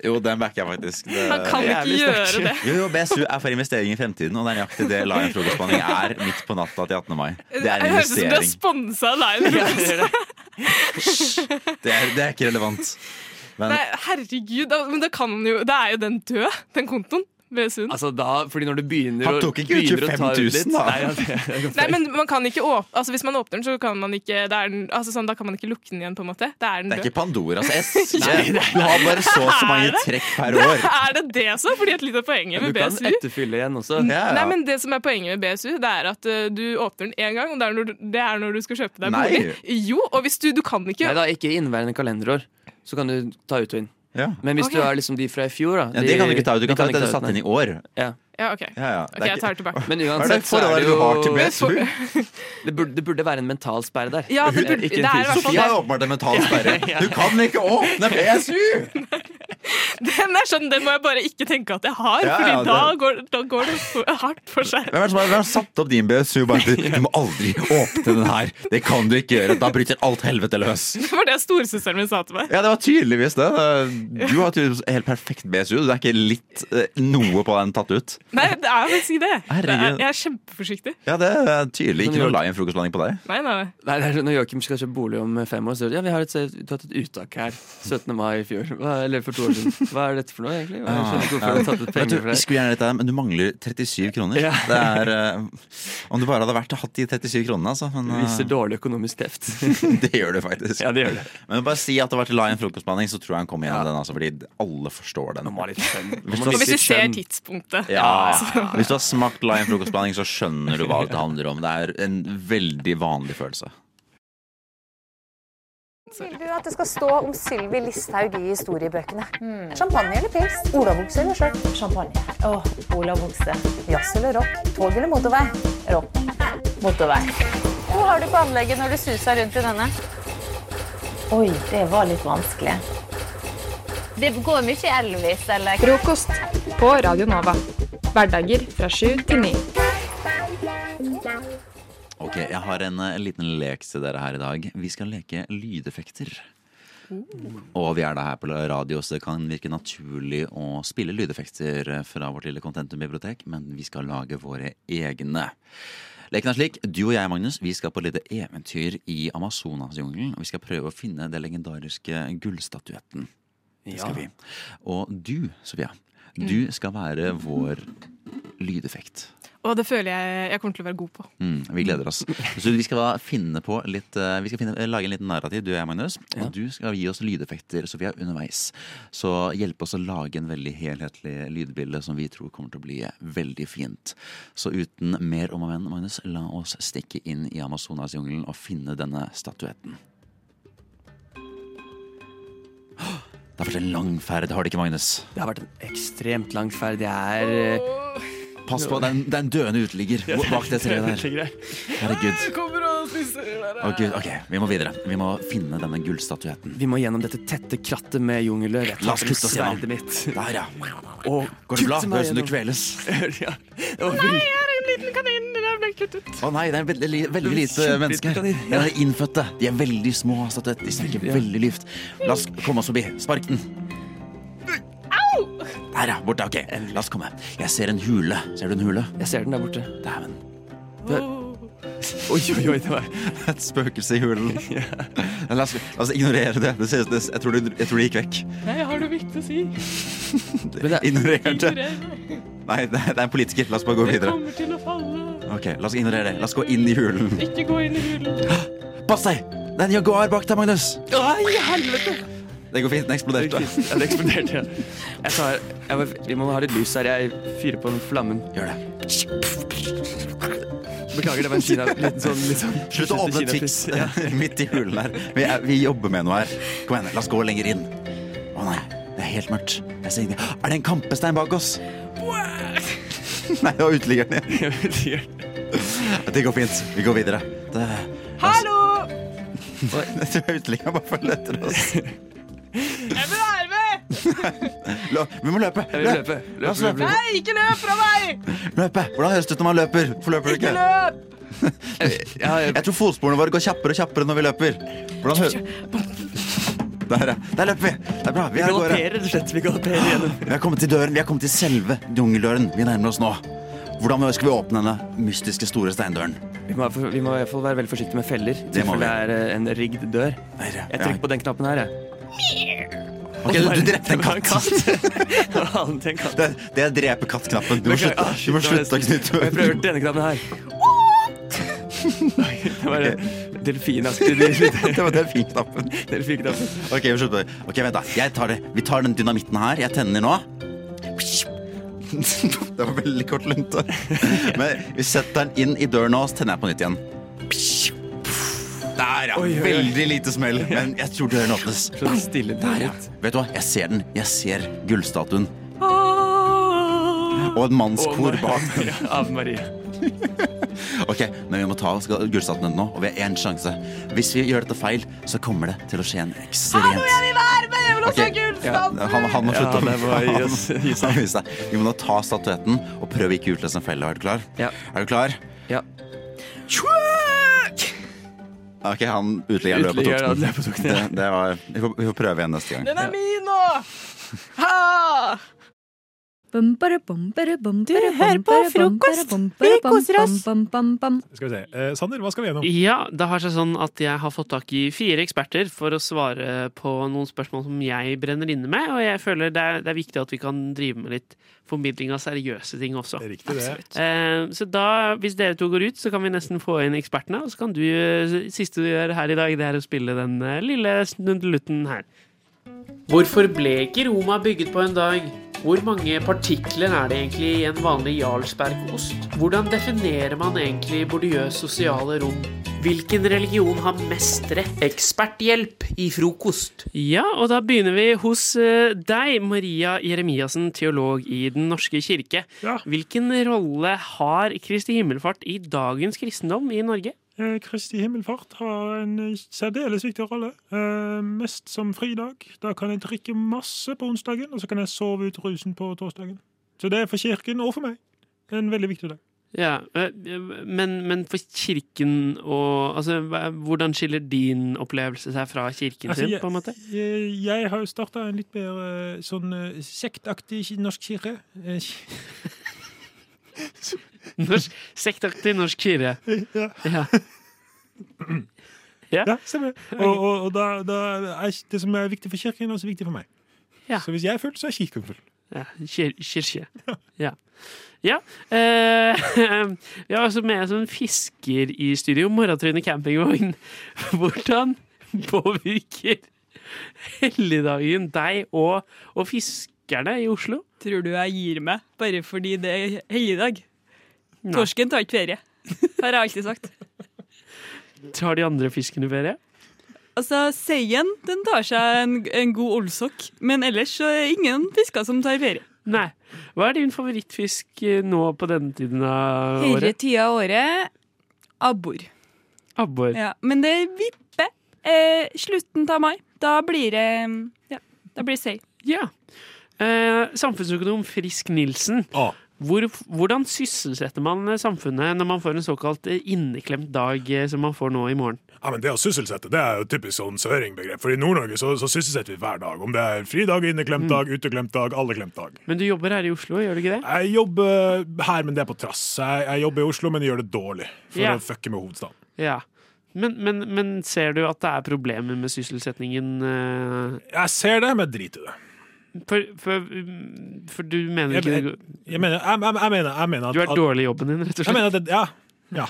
Speaker 13: Jo, den backer jeg faktisk. Det-
Speaker 11: Han kan ikke
Speaker 13: Jævlig
Speaker 11: gjøre
Speaker 13: sterkt.
Speaker 11: det.
Speaker 13: Jo, jo, BSU er for investering i fremtiden, og det er nøyaktig det Lion frokostblanding er midt på natta til 18. mai. Det er en
Speaker 11: høres ut som du er
Speaker 13: investering.
Speaker 11: sponsa av Lion.
Speaker 13: Det er, det er ikke relevant. Men
Speaker 11: Nei, herregud, da, men da kan han jo Da er jo den død, den kontoen. BSU-en.
Speaker 12: Altså da, fordi når du begynner
Speaker 13: Han
Speaker 12: å-
Speaker 13: tok ikke ut
Speaker 12: begynner å ta litt-
Speaker 13: 25 000 da.
Speaker 12: Nei, ja, det er godt
Speaker 11: Nei,
Speaker 12: poeng.
Speaker 11: men man kan ikke åp altså, Hvis man åpner den, så kan man ikke da, er den, altså, sånn, da kan man ikke lukke den igjen, på en måte. Da er den
Speaker 13: det er
Speaker 11: død.
Speaker 13: ikke Pandoras S.
Speaker 11: Nei, det er-
Speaker 13: Du har bare så og så mange trekk per år.
Speaker 11: Da er det det som fordi et lite av poenget med
Speaker 12: Du kan
Speaker 11: BSU
Speaker 12: etterfylle igjen også.
Speaker 11: Nei, men Det som er poenget med BSU, Det er at eh, du åpner den én gang, og det er, når du, det er når du skal kjøpe deg
Speaker 12: Nei.
Speaker 11: bolig. Jo, og hvis du, du kan ikke
Speaker 12: Nei da, ikke i inneværende kalenderår. Så kan du ta ut og inn. Men hvis
Speaker 11: Ok.
Speaker 12: du er liksom de fra i fjor, da
Speaker 13: Ja, det kan du ikke ta ut. Du
Speaker 12: de
Speaker 13: kan ta ut det du satte
Speaker 12: nei.
Speaker 13: inn i år.
Speaker 12: Ja.
Speaker 11: Ja, OK.
Speaker 13: Ja, ja.
Speaker 11: Ok, jeg tar det tilbake.
Speaker 12: Men
Speaker 13: Hva er det
Speaker 12: uansett så er
Speaker 13: forholdet
Speaker 12: det jo
Speaker 13: du har til
Speaker 12: det, burde, det burde være en mental sperre der.
Speaker 11: Ja, det burde-
Speaker 12: Ikke
Speaker 11: det er i
Speaker 12: en
Speaker 11: hvert fall det.
Speaker 12: fysisk.
Speaker 11: Sofie er
Speaker 13: åpenbart en mental sperre. Du kan ikke åpne BSU!
Speaker 11: Den er sånn, den må jeg bare ikke tenke at jeg har,
Speaker 13: Ja,
Speaker 11: Fordi
Speaker 13: ja,
Speaker 11: da,
Speaker 13: det-
Speaker 11: går, da går det for- hardt for seg.
Speaker 13: Hvem er det som har, hvem har satt opp din BSU? Bare, du, du må aldri åpne den her! Det kan du ikke gjøre! Da bryter alt helvete løs!
Speaker 11: Det var det storesøsteren min sa til meg.
Speaker 13: Ja, det var tydeligvis det. Du har tydeligvis helt perfekt BSU. Det er ikke litt eh, noe på den tatt ut.
Speaker 11: Nei, det er faktisk ikke det. det er,
Speaker 13: Herregud.
Speaker 11: jeg er kjempeforsiktig.
Speaker 13: Ja, det er tydelig ikke noe lion frokostblanding på deg.
Speaker 11: Nei, nei.
Speaker 12: Nei, det er sånn, Når Joakim skal kjøpe bolig om fem år, så sier han ja, vi har et, vi har tatt et uttak her 17. mai i fjor. Hva, eller for to år siden. Hva er dette for noe, egentlig? Jeg skjønner ikke hvorfor
Speaker 13: Ja.
Speaker 12: jeg har tatt ut
Speaker 13: Ah. Vet du,
Speaker 12: penger for
Speaker 13: vi
Speaker 12: det.
Speaker 13: skulle gjerne dette, her, men du mangler 37 kroner.
Speaker 12: Ja.
Speaker 13: Det er, eh, om du bare hadde vært og hatt de 37 kronene, altså. Men, eh,
Speaker 12: Viser dårlig økonomisk teft.
Speaker 13: det gjør du faktisk.
Speaker 12: Ja, det gjør det.
Speaker 13: Men bare si at det var til Lion frokostblanding, så tror jeg han kommer gjennom den. Altså, fordi alle forstår den. Hvis du
Speaker 11: Og
Speaker 13: har
Speaker 11: hvis du
Speaker 13: sett
Speaker 11: ser
Speaker 13: skjønn-
Speaker 11: tidspunktet.
Speaker 13: ja.
Speaker 11: så-
Speaker 13: Hvis du har smakt Lion frokostblanding, så skjønner du hva det handler om. Det er en veldig vanlig følelse.
Speaker 8: Vil du at det skal stå om Sylvi Listhaug i historiebøkene? Champagne eller pils? Olabukse eller skjørt? Hmm. Champagne. Åh, olabukse. Jazz eller rock? Tog eller motorvei? Rock. Motorvei. Hva har du på anlegget når du suser rundt i denne? Oi, det var litt vanskelig.
Speaker 15: Det går mye Elvis, eller
Speaker 9: Frokost på Radio Nova. Hverdager fra sju til ni.
Speaker 13: Ok, Jeg har en, eh, liten lek til dere her i dag. Vi skal leke lydeffekter. Og vi er da her på radio, så det kan virke naturlig å spille lydeffekter fra vårt lille Contentum-bibliotek, men vi skal lage våre egne. Leken er slik. Du og jeg, Magnus, vi skal på et lite eventyr i Amazonasjungelen. Og vi skal prøve å finne den legendariske gullstatuetten. Det skal vi. Og du, Sofia, du skal være vår lydeffekt.
Speaker 11: Og det føler jeg jeg kommer til å være god på.
Speaker 13: Mm, vi gleder oss. Så vi skal da finne på litt eh, Vi skal finne, eh, lage en liten narrativ, du og jeg, Magnus. Og du skal gi oss lydeffekter Sofia, underveis. Så hjelpe oss å lage en veldig helhetlig lydbilde som vi tror kommer til å bli veldig fint. Så uten mer om og men, Magnus, la oss stikke inn i Amazonasjungelen og finne denne statuetten. Det har vært en lang ferd, har det ikke, Magnus?
Speaker 12: Det har vært en ekstremt lang ferd. Jeg er eh,
Speaker 13: Pass på, det er en, det er en døende uteligger bak det treet der. Herregud.
Speaker 11: Kommer og spiser
Speaker 13: Å, Gud, ok, vi må videre. Vi må finne denne gullstatuetten.
Speaker 12: Vi må gjennom dette tette krattet med jungelløv. Jeg
Speaker 13: La oss
Speaker 12: tar
Speaker 13: kutte oss gjennom.
Speaker 12: sverdet mitt.
Speaker 13: Der, ja.
Speaker 12: Og
Speaker 13: Går det bra?
Speaker 12: kutte meg
Speaker 13: Høres ut som du
Speaker 12: gjennom.
Speaker 13: kveles.
Speaker 12: ja.
Speaker 13: Å
Speaker 11: Nei, jeg er en liten kanin! Den ble kuttet.
Speaker 13: nei, det er veldig, li- veldig lite
Speaker 12: Kjempe-
Speaker 13: mennesker.
Speaker 12: kanin.
Speaker 13: Ja, det er innfødte. De er veldig små. statuetter. De snakker veldig lyft. La oss komme oss forbi. Spark den.
Speaker 11: Au!
Speaker 13: Der, ja. Borte. Ok, la oss komme. Jeg ser en hule. Ser du en hule?
Speaker 12: Jeg ser den der borte.
Speaker 13: Dæven.
Speaker 12: Oi, oi, oi, det var
Speaker 13: Et spøkelse i hulen. La oss, la oss ignorere det. det, ser, det jeg, tror det jeg tror det gikk vekk.
Speaker 11: Nei, jeg har noe viktig å si.
Speaker 13: Ignorer det.
Speaker 11: Ignorer.
Speaker 13: Nei, det er det er en politiker. La oss bare gå
Speaker 11: Jeg
Speaker 13: videre.
Speaker 11: kommer til å falle.
Speaker 13: Ok, La oss ignorere det. La oss gå inn i hulen.
Speaker 11: Ikke gå inn i hulen.
Speaker 13: Pass deg! Det er en jaguar bak deg, Magnus.
Speaker 11: Ai, helvete!
Speaker 13: Det går fint. Den eksploderte.
Speaker 12: Ja, det eksploderte, ja. Jeg tar, jeg må, vi må ha litt lys her. Jeg fyrer på den flammen.
Speaker 13: Gjør det.
Speaker 12: Beklager, det var en kina, liten sånn, litt sånn
Speaker 13: Slutt å åpne
Speaker 12: kinapuss.
Speaker 13: Twix midt i hulen her. Vi, er, vi jobber med noe her. Kom igjen, la oss gå lenger inn. Å nei, det er helt mørkt. Jeg ser ingenting. Er det en kampestein bak oss? Nei, det var uteliggeren igjen. Det går fint. Vi går videre. Det,
Speaker 11: Hallo!
Speaker 13: jeg tror uteliggeren bare følger etter oss.
Speaker 11: Jeg vil være med!
Speaker 13: La, vi må løpe.
Speaker 12: Jeg vil løpe. Løp,
Speaker 13: La oss
Speaker 12: løp,
Speaker 13: løpe.
Speaker 11: Nei, ikke løp fra meg!
Speaker 13: løpe. Hvordan høres det ut når man løper? Hvorfor løper du
Speaker 11: Ikke
Speaker 13: ikke?
Speaker 11: løp!
Speaker 13: Jeg tror fotsporene våre går kjappere og kjappere når vi løper. Hvordan hø... Der, ja. Der løper vi. Det er bra. Vi
Speaker 12: Vi
Speaker 13: er av gårde.
Speaker 12: galopperer rett og slett. Vi galopperer gjennom.
Speaker 13: Vi har kommet til døren. Vi har kommet til selve jungeldøren. Vi nærmer oss nå. Hvordan skal vi åpne denne mystiske, store steindøren?
Speaker 12: Vi må, vi må i hvert fall være veldig forsiktige med feller.
Speaker 13: Det må
Speaker 12: Tilfelle det er eh, en rigd dør. Jeg trykker på den knappen her, jeg.
Speaker 13: Ok, du, du drepte en
Speaker 12: Det var
Speaker 13: katt.
Speaker 12: Det var annet enn katt.
Speaker 13: Det, det er drepe katt-knappen. Du må
Speaker 12: Beklager.
Speaker 13: slutte,
Speaker 12: Ah,
Speaker 13: du må
Speaker 12: shit, det var
Speaker 13: slutte å knytte
Speaker 12: Jeg prøver denne knappen her. Det var en delfinaktig lyd.
Speaker 13: Det var delfinknappen.
Speaker 12: Delfinknappen.
Speaker 13: Ok, vi slutter. Ok, vent da. Jeg tar det. Vi tar den dynamitten her. Jeg tenner nå. Det var veldig kort lunte. Men vi setter den inn i døren nå, så tenner jeg på nytt igjen. Der, ja.
Speaker 12: Oi, oi, oi.
Speaker 13: Veldig lite smell, men jeg tror døren åpnes.
Speaker 12: Sånn stille
Speaker 13: Der, ja. Vet du hva? Jeg ser den. Jeg ser gullstatuen.
Speaker 12: Ah.
Speaker 13: Og et mannskor bak den.
Speaker 12: Ja, Ave Maria.
Speaker 13: Ok, men vi må ta skal- gullstatuen nå, og vi har én sjanse. Hvis vi gjør dette feil, så kommer det til å skje en
Speaker 11: Hallo, jeg
Speaker 13: ekstremt
Speaker 11: vil være med! Jeg vil også ha
Speaker 13: Ok,
Speaker 11: gullstaten!
Speaker 13: Han, han må
Speaker 12: Ja,
Speaker 13: slutte å
Speaker 12: det må gi oss- gi
Speaker 13: Han- han må gi seg. Vi må nå ta statuetten og prøve ikke å utløse en felle. Er du klar?
Speaker 12: Ja.
Speaker 13: Er du klar?
Speaker 12: Ja.
Speaker 13: Ok, han uteliggeren løp og
Speaker 12: Uteliggeren,
Speaker 13: tok
Speaker 12: han
Speaker 13: den.
Speaker 12: løp og tok den, ja.
Speaker 13: Det, det var, vi, får, vi får prøve igjen neste gang.
Speaker 11: Den er min nå! Ha!
Speaker 3: Du
Speaker 11: hører på frokost. Vi koser oss.
Speaker 16: Skal vi se. Eh, Sander, hva skal vi gjennom?
Speaker 17: Ja, det har seg sånn at jeg har fått tak i fire eksperter for å svare på noen spørsmål som jeg brenner inne med, og jeg føler det er, det er viktig at vi kan drive med litt formidling av seriøse ting også.
Speaker 16: Riktig det.
Speaker 17: Eh, Så da, hvis dere to går ut, så kan vi nesten få inn ekspertene, og så kan du, eh, siste du gjør her i dag, det er å spille den eh, lille snudelutten her. Hvorfor ble ikke Roma bygget på en dag? Hvor mange partikler er det egentlig i en vanlig Jarlsbergost? Hvordan definerer man egentlig bordiøs sosiale rom? Hvilken religion har mest rett? Eksperthjelp i frokost. Ja, og da begynner vi hos eh, deg, Maria Jeremiassen, teolog i Den norske kirke. Hvilken rolle har Kristi himmelfart i dagens kristendom i Norge?
Speaker 18: Eh, Kristi himmelfart har en eh, særdeles viktig rolle. Eh, Mest som fridag. Da kan jeg drikke masse på onsdagen, og så kan jeg sove ut rusen på torsdagen. Så det er for kirken og for meg en veldig viktig dag.
Speaker 17: Ja, eh, men, men for kirken og altså, hva- Hvordan skiller din opplevelse seg fra kirken
Speaker 18: Altså,
Speaker 17: sin,
Speaker 18: jeg-
Speaker 17: på en måte?
Speaker 18: Jeg, jeg har jo starta en litt mer eh, sånn eh, sektaktig ki- norsk kirke. Eh, ki-
Speaker 17: Norsk, sektaktig norsk kirke.
Speaker 18: Ja.
Speaker 17: Ja.
Speaker 18: Ja, stemmer. Og, og, og da, da er ikke- det som er viktig for kirken, er også viktig for meg. Så hvis jeg er full, så er kirken full.
Speaker 17: Ja, kir kirke. Ja. ja. eh, vi har også med en fisker i studio. Morratryne campingvogn. Hvordan påvirker helligdagen deg og, og fiskerne i Oslo?
Speaker 19: Tror du jeg gir meg bare fordi det er helligdag?
Speaker 17: Nei.
Speaker 19: Torsken tar ikke ferie, har jeg alltid sagt.
Speaker 17: Tar de andre fiskene ferie?
Speaker 19: Altså, Seien den tar seg en, en god olsokk, men ellers så er det ingen fisker som tar ferie.
Speaker 17: Nei. Hva er din favorittfisk eh, nå på denne tiden av
Speaker 19: Herre
Speaker 17: året?
Speaker 19: tida av året abbor.
Speaker 17: Abbor.
Speaker 19: Ja, men det vipper eh, slutten av mai. Da blir det eh, ja, da blir det sei.
Speaker 17: Ja. Eh, samfunnsøkonom Frisk Nilsen. Hvor, hvordan sysselsetter man eh, samfunnet når man får en såkalt eh, inneklemt dag eh, som man får nå i morgen?
Speaker 16: Ja, men Det å sysselsette det er jo et typisk sånn søringbegrep. For i Nord-Norge så, så sysselsetter vi hver dag. Om det er fridag, inneklemt dag, uteklemt dag, alleglemt dag.
Speaker 17: Mm. Men du jobber her i Oslo, gjør du ikke det?
Speaker 16: Jeg jobber her, men det er på trass. Jeg, jeg jobber i Oslo, men jeg gjør det dårlig. For
Speaker 17: Ja.
Speaker 16: å fucke med hovedstaden.
Speaker 17: Ja. Men, men, men ser du at det er problemer med sysselsettingen? eh?
Speaker 16: Jeg ser det, men drit i det.
Speaker 17: For, for, mm, for du mener
Speaker 16: Jeg,
Speaker 17: ikke
Speaker 16: jeg, jeg, mener, jeg, jeg, jeg, mener, jeg mener at
Speaker 17: Du er dårlig i jobben din, rett og
Speaker 16: Jeg
Speaker 17: slett?
Speaker 16: mener at det, ja.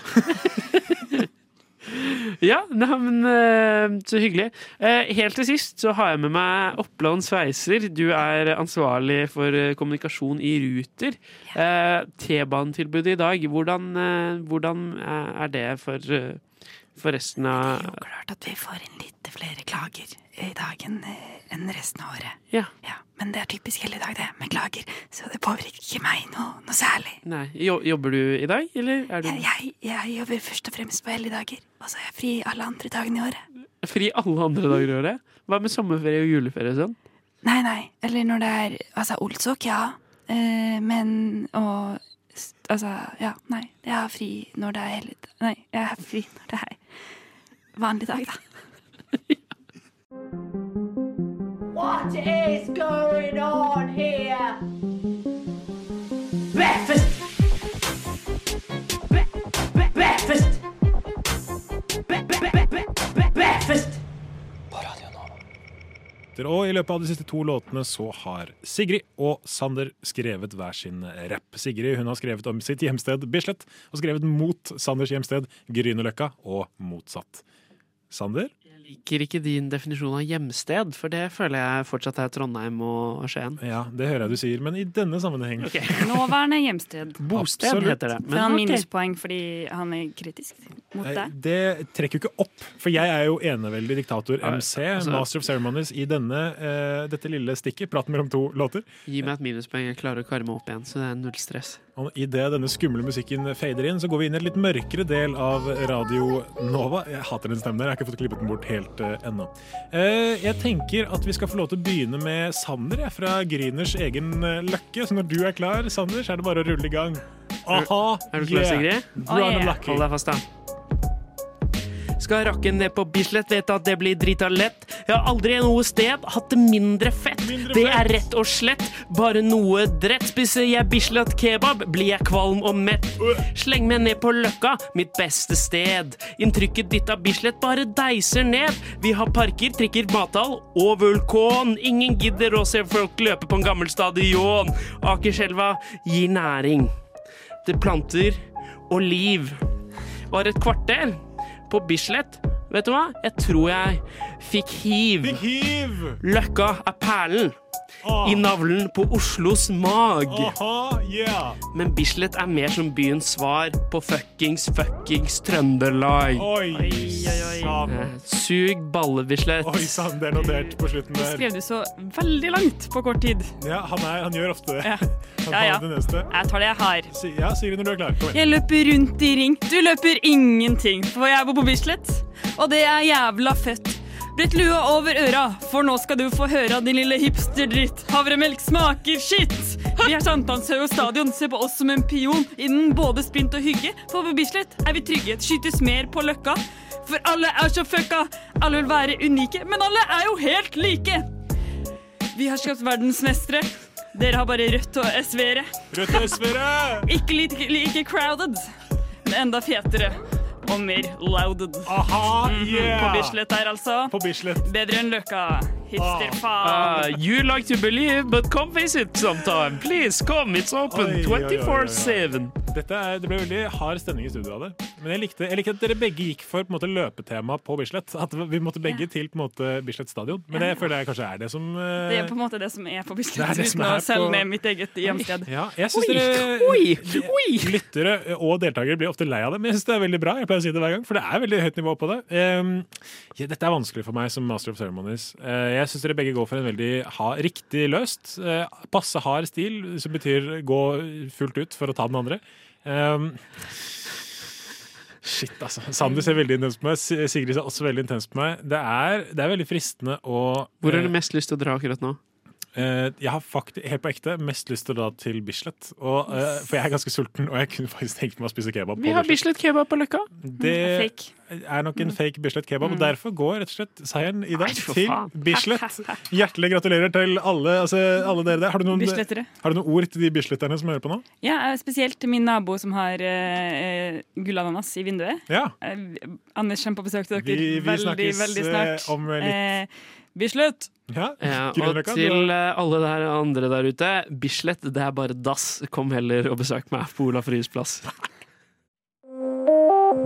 Speaker 17: Ja, nei, men eh, så hyggelig. Eh, helt til sist så har jeg med meg Oppland Sveiser. Du er ansvarlig for eh, kommunikasjon i Ruter. Eh, T-banetilbudet i dag, hvordan, eh, hvordan eh, er det for, eh, for resten av
Speaker 20: klart at vi får inn litt flere klager i dag enn eh, enn resten av året.
Speaker 17: Ja.
Speaker 20: Men det er typisk hele dag, det, med klager. Så det påvirker ikke meg noe, noe særlig.
Speaker 17: Nei, jo, jobber du i dag, eller er du
Speaker 20: Jeg, jeg, jeg jobber først og fremst på helligdager, og så er jeg fri alle andre dagene i året.
Speaker 17: fri alle andre dager i året? Hva med sommerferie og juleferie og sånn?
Speaker 20: Nei, nei. Eller når det er Altså, Olsok, ja. Eh, men og s- Altså, ja. Nei. Jeg har fri når det er hellig... Nei, jeg har fri når det er vanlig dag, da.
Speaker 21: What is going on here? Breakfast. Bre- bre- breakfast. Bre- bre- bre- bre- bre- breakfast.
Speaker 16: Og i løpet av de siste to låtene så har Sigrid og Sander skrevet hver sin rapp. Sigrid hun har skrevet om sitt hjemsted Bislett, og skrevet mot Sanders hjemsted Grünerløkka, og motsatt. Sander?
Speaker 17: Liker ikke din definisjon av hjemsted, for det føler jeg fortsatt er Trondheim og Skien.
Speaker 16: Ja, det hører jeg du sier, men i denne sammenheng
Speaker 22: Nåværende hjemsted.
Speaker 16: Bosted Absolutt. heter det, men
Speaker 22: Får han
Speaker 16: ok.
Speaker 22: minuspoeng fordi han er kritisk mot
Speaker 16: Nei,
Speaker 22: deg?
Speaker 16: det trekker jo ikke opp, for jeg er jo eneveldig diktator MC,
Speaker 17: altså-
Speaker 16: Master of Ceremonies, i denne, eh, dette lille stikket, praten mellom to låter.
Speaker 17: Gi meg et minuspoeng, jeg klarer å karre meg opp igjen, så det er null stress.
Speaker 16: Og Idet denne skumle musikken fader inn, så går vi inn i en litt mørkere del av Radio Nova. Jeg hater den stemmen der, jeg har ikke fått klippet den bort helt eh, ennå. Eh, jeg tenker at vi skal få lov til å begynne med Sander, jeg, fra Gryners egen eh, løkke. Så når du er klar, Sander, så er det bare å rulle i gang. Aha!
Speaker 17: Er du klar, Sigrid?
Speaker 16: Grønn lucky.
Speaker 17: Oh, Hold deg fast, da. Skal rakke ned på Bislett, vet at det blir drita lett. Jeg har aldri noe sted hatt det mindre fett. det er rett og slett bare noe drett. Spiser jeg Bislett kebab, blir jeg kvalm og mett. Sleng meg ned på Løkka, mitt beste sted. Inntrykket ditt av Bislett bare deiser ned. Vi har parker, trikker, mathall og vulkan. Ingen gidder å se folk løpe på en gammel stadion. Akerselva gir næring til planter og liv. Var et kvarter på Bislett Vet du hva? Jeg tror jeg fikk hiv.
Speaker 16: Fikk hiv! Ah.
Speaker 17: Løkka er perlen. I navlen på Oslos mag.
Speaker 16: Aha, yeah.
Speaker 17: Men Bislett er mer som byens svar på fuckings fuckings Trøndelag.
Speaker 16: Oi, sann.
Speaker 17: Eh, Sug balle, Bislett.
Speaker 16: Oi sann, det er notert på slutten
Speaker 22: Det
Speaker 16: der.
Speaker 22: skrev du så veldig langt på kort tid.
Speaker 16: Ja, han, er, han gjør ofte det.
Speaker 22: Ja.
Speaker 16: Han
Speaker 22: Ja,
Speaker 16: tar
Speaker 22: ja.
Speaker 16: det neste.
Speaker 22: Jeg tar det jeg har.
Speaker 16: Si- Ja, Sigrid, når du er klar. Kom igjen.
Speaker 22: Jeg løper rundt i ring. Du løper ingenting, for jeg bor på Bislett, og det er jævla fett. Brett lua over øra, for nå skal du få høre av din lille hipsterdritt. Havremelk smaker skitt! Vi er Sankthanshøy og stadion, se på oss som en pion innen både sprint og hygge. For på Bislett er vi trygge, skytes mer på løkka. For alle er så fucka! Alle vil være unike, men alle er jo helt like! Vi har skapt verdensmestere. Dere har bare rødt og SV-ere.
Speaker 16: Rødt og SV-ere!
Speaker 22: Ikke like, like crowded, men enda fetere. Og mer louded.
Speaker 16: Aha,
Speaker 22: Mhm,
Speaker 16: yeah.
Speaker 22: På Bislett der, altså.
Speaker 16: På Bislett.
Speaker 22: Bedre enn Løkka.
Speaker 17: Ah,
Speaker 22: Hipsterfaen.
Speaker 17: you like to believe, but come visit sometime. Please come, it's
Speaker 16: Oi, oi,
Speaker 17: open
Speaker 16: oi, oi, oi.
Speaker 17: 24-7.
Speaker 16: Dette er, det ble veldig hard stemning i studio av det. Men jeg likte, jeg likte at dere begge gikk for på en måte, løpetema på Bislett. At vi måtte begge til på en måte, Bislett stadion. Men det føler jeg kanskje er det som eh,
Speaker 22: Det er på en måte det som er på Bislett,
Speaker 16: Det er det som
Speaker 22: uten å
Speaker 16: er på-
Speaker 22: selge ned mitt eget hjemsted.
Speaker 16: Ja, jeg synes
Speaker 22: Oi,
Speaker 16: dere
Speaker 22: oi,
Speaker 16: Lyttere eh, og deltakere blir ofte lei av det, men jeg syns det er veldig bra. Jeg pleier å si det hver gang, for det er veldig høyt nivå på det. Ehm, ja, dette er vanskelig for meg som master of ceremonies. Eh, jeg syns dere begge går for en veldig ha, riktig løst, eh, passe hard stil, som betyr gå fullt ut for å ta den andre. Ehm, Shit, altså. Sander ser veldig intens på meg. Si- Sigrid ser også veldig intens på meg. Det er, det er veldig fristende å
Speaker 17: Hvor har
Speaker 16: eh,
Speaker 17: du mest lyst til å dra akkurat nå?
Speaker 16: Eh, jeg har faktisk, helt på ekte, mest lyst til å dra til Bislett. Og, eh, for jeg er ganske sulten, og jeg kunne faktisk tenkt meg å spise kebab.
Speaker 17: Vi
Speaker 16: på
Speaker 17: har Bislett kebab på Løkka. Mm.
Speaker 16: Det er nok en fake Bislett kebab, og derfor går rett og slett seieren i dag
Speaker 17: for
Speaker 16: til
Speaker 17: Mm. faen.
Speaker 16: Bislett. Hjertelig gratulerer til alle, altså, alle dere der. Har du, noen,
Speaker 22: Bislettere.
Speaker 16: har du noen ord til de bisletterne som hører på nå?
Speaker 22: Ja, eh, spesielt min nabo som har eh, eh, gullananas i vinduet.
Speaker 16: Ja.
Speaker 22: Eh, Anders kommer på besøk til dere
Speaker 16: Vi- vi
Speaker 22: veldig,
Speaker 16: snakkes,
Speaker 22: veldig snart.
Speaker 16: eh, om litt.
Speaker 22: Eh, Bislett!
Speaker 16: Ja,
Speaker 17: Ja, og
Speaker 16: Grünerløkka, du
Speaker 17: til
Speaker 16: har-
Speaker 17: eh, alle der andre der ute, Bislett det er bare dass. Kom heller og besøk meg på Olaf Ryes plass.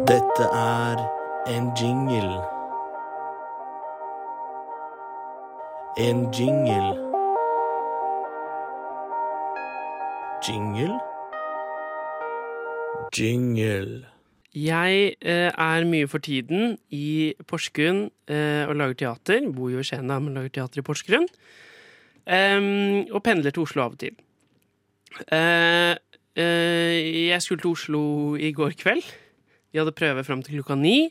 Speaker 1: Dette er en jingle. En jingle. Jingle? Jingle.
Speaker 17: Jeg eh, er mye for tiden i Porsgrunn eh, og lager teater. Bor jo i Skien, da, men lager teater i Porsgrunn. Em, og pendler til Oslo av og til. Eh, eh, jeg skulle til Oslo i går kveld. Vi hadde prøve fram til klokka ni,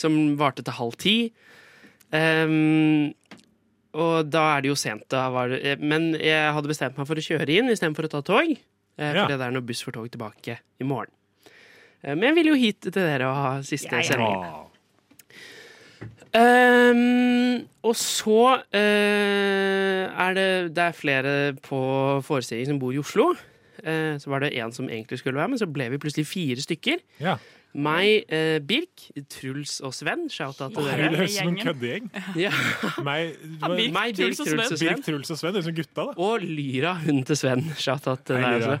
Speaker 17: som varte til halv ti. Em, og da er det jo sent. Da var det, eh, men jeg hadde bestemt meg for å kjøre inn istedenfor å ta tog. Eh,
Speaker 1: Ja.
Speaker 17: For det er noe buss for tog tilbake i morgen. Eh, men jeg vil jo hit til dere og ha siste sending. Ehm, og så eh, er det, det er flere på forestilling som bor i Oslo. Eh, så var det en som egentlig skulle være med, så ble vi plutselig fire stykker.
Speaker 16: Ja.
Speaker 17: Meg, eh, Birk, Truls og Sven. Shout-out til dere.
Speaker 16: Herregud, det høres ut som en køddegjeng.
Speaker 17: Ja.
Speaker 16: Meg,
Speaker 17: Birk, Meg, Birk, Truls og Truls og Sven. Sven.
Speaker 16: Birk, Truls og Sven. Det er som gutta, da.
Speaker 17: Og Lyra, hunden til Sven. Shout-out til
Speaker 16: Hei,
Speaker 17: deg
Speaker 16: Lyra.
Speaker 17: også.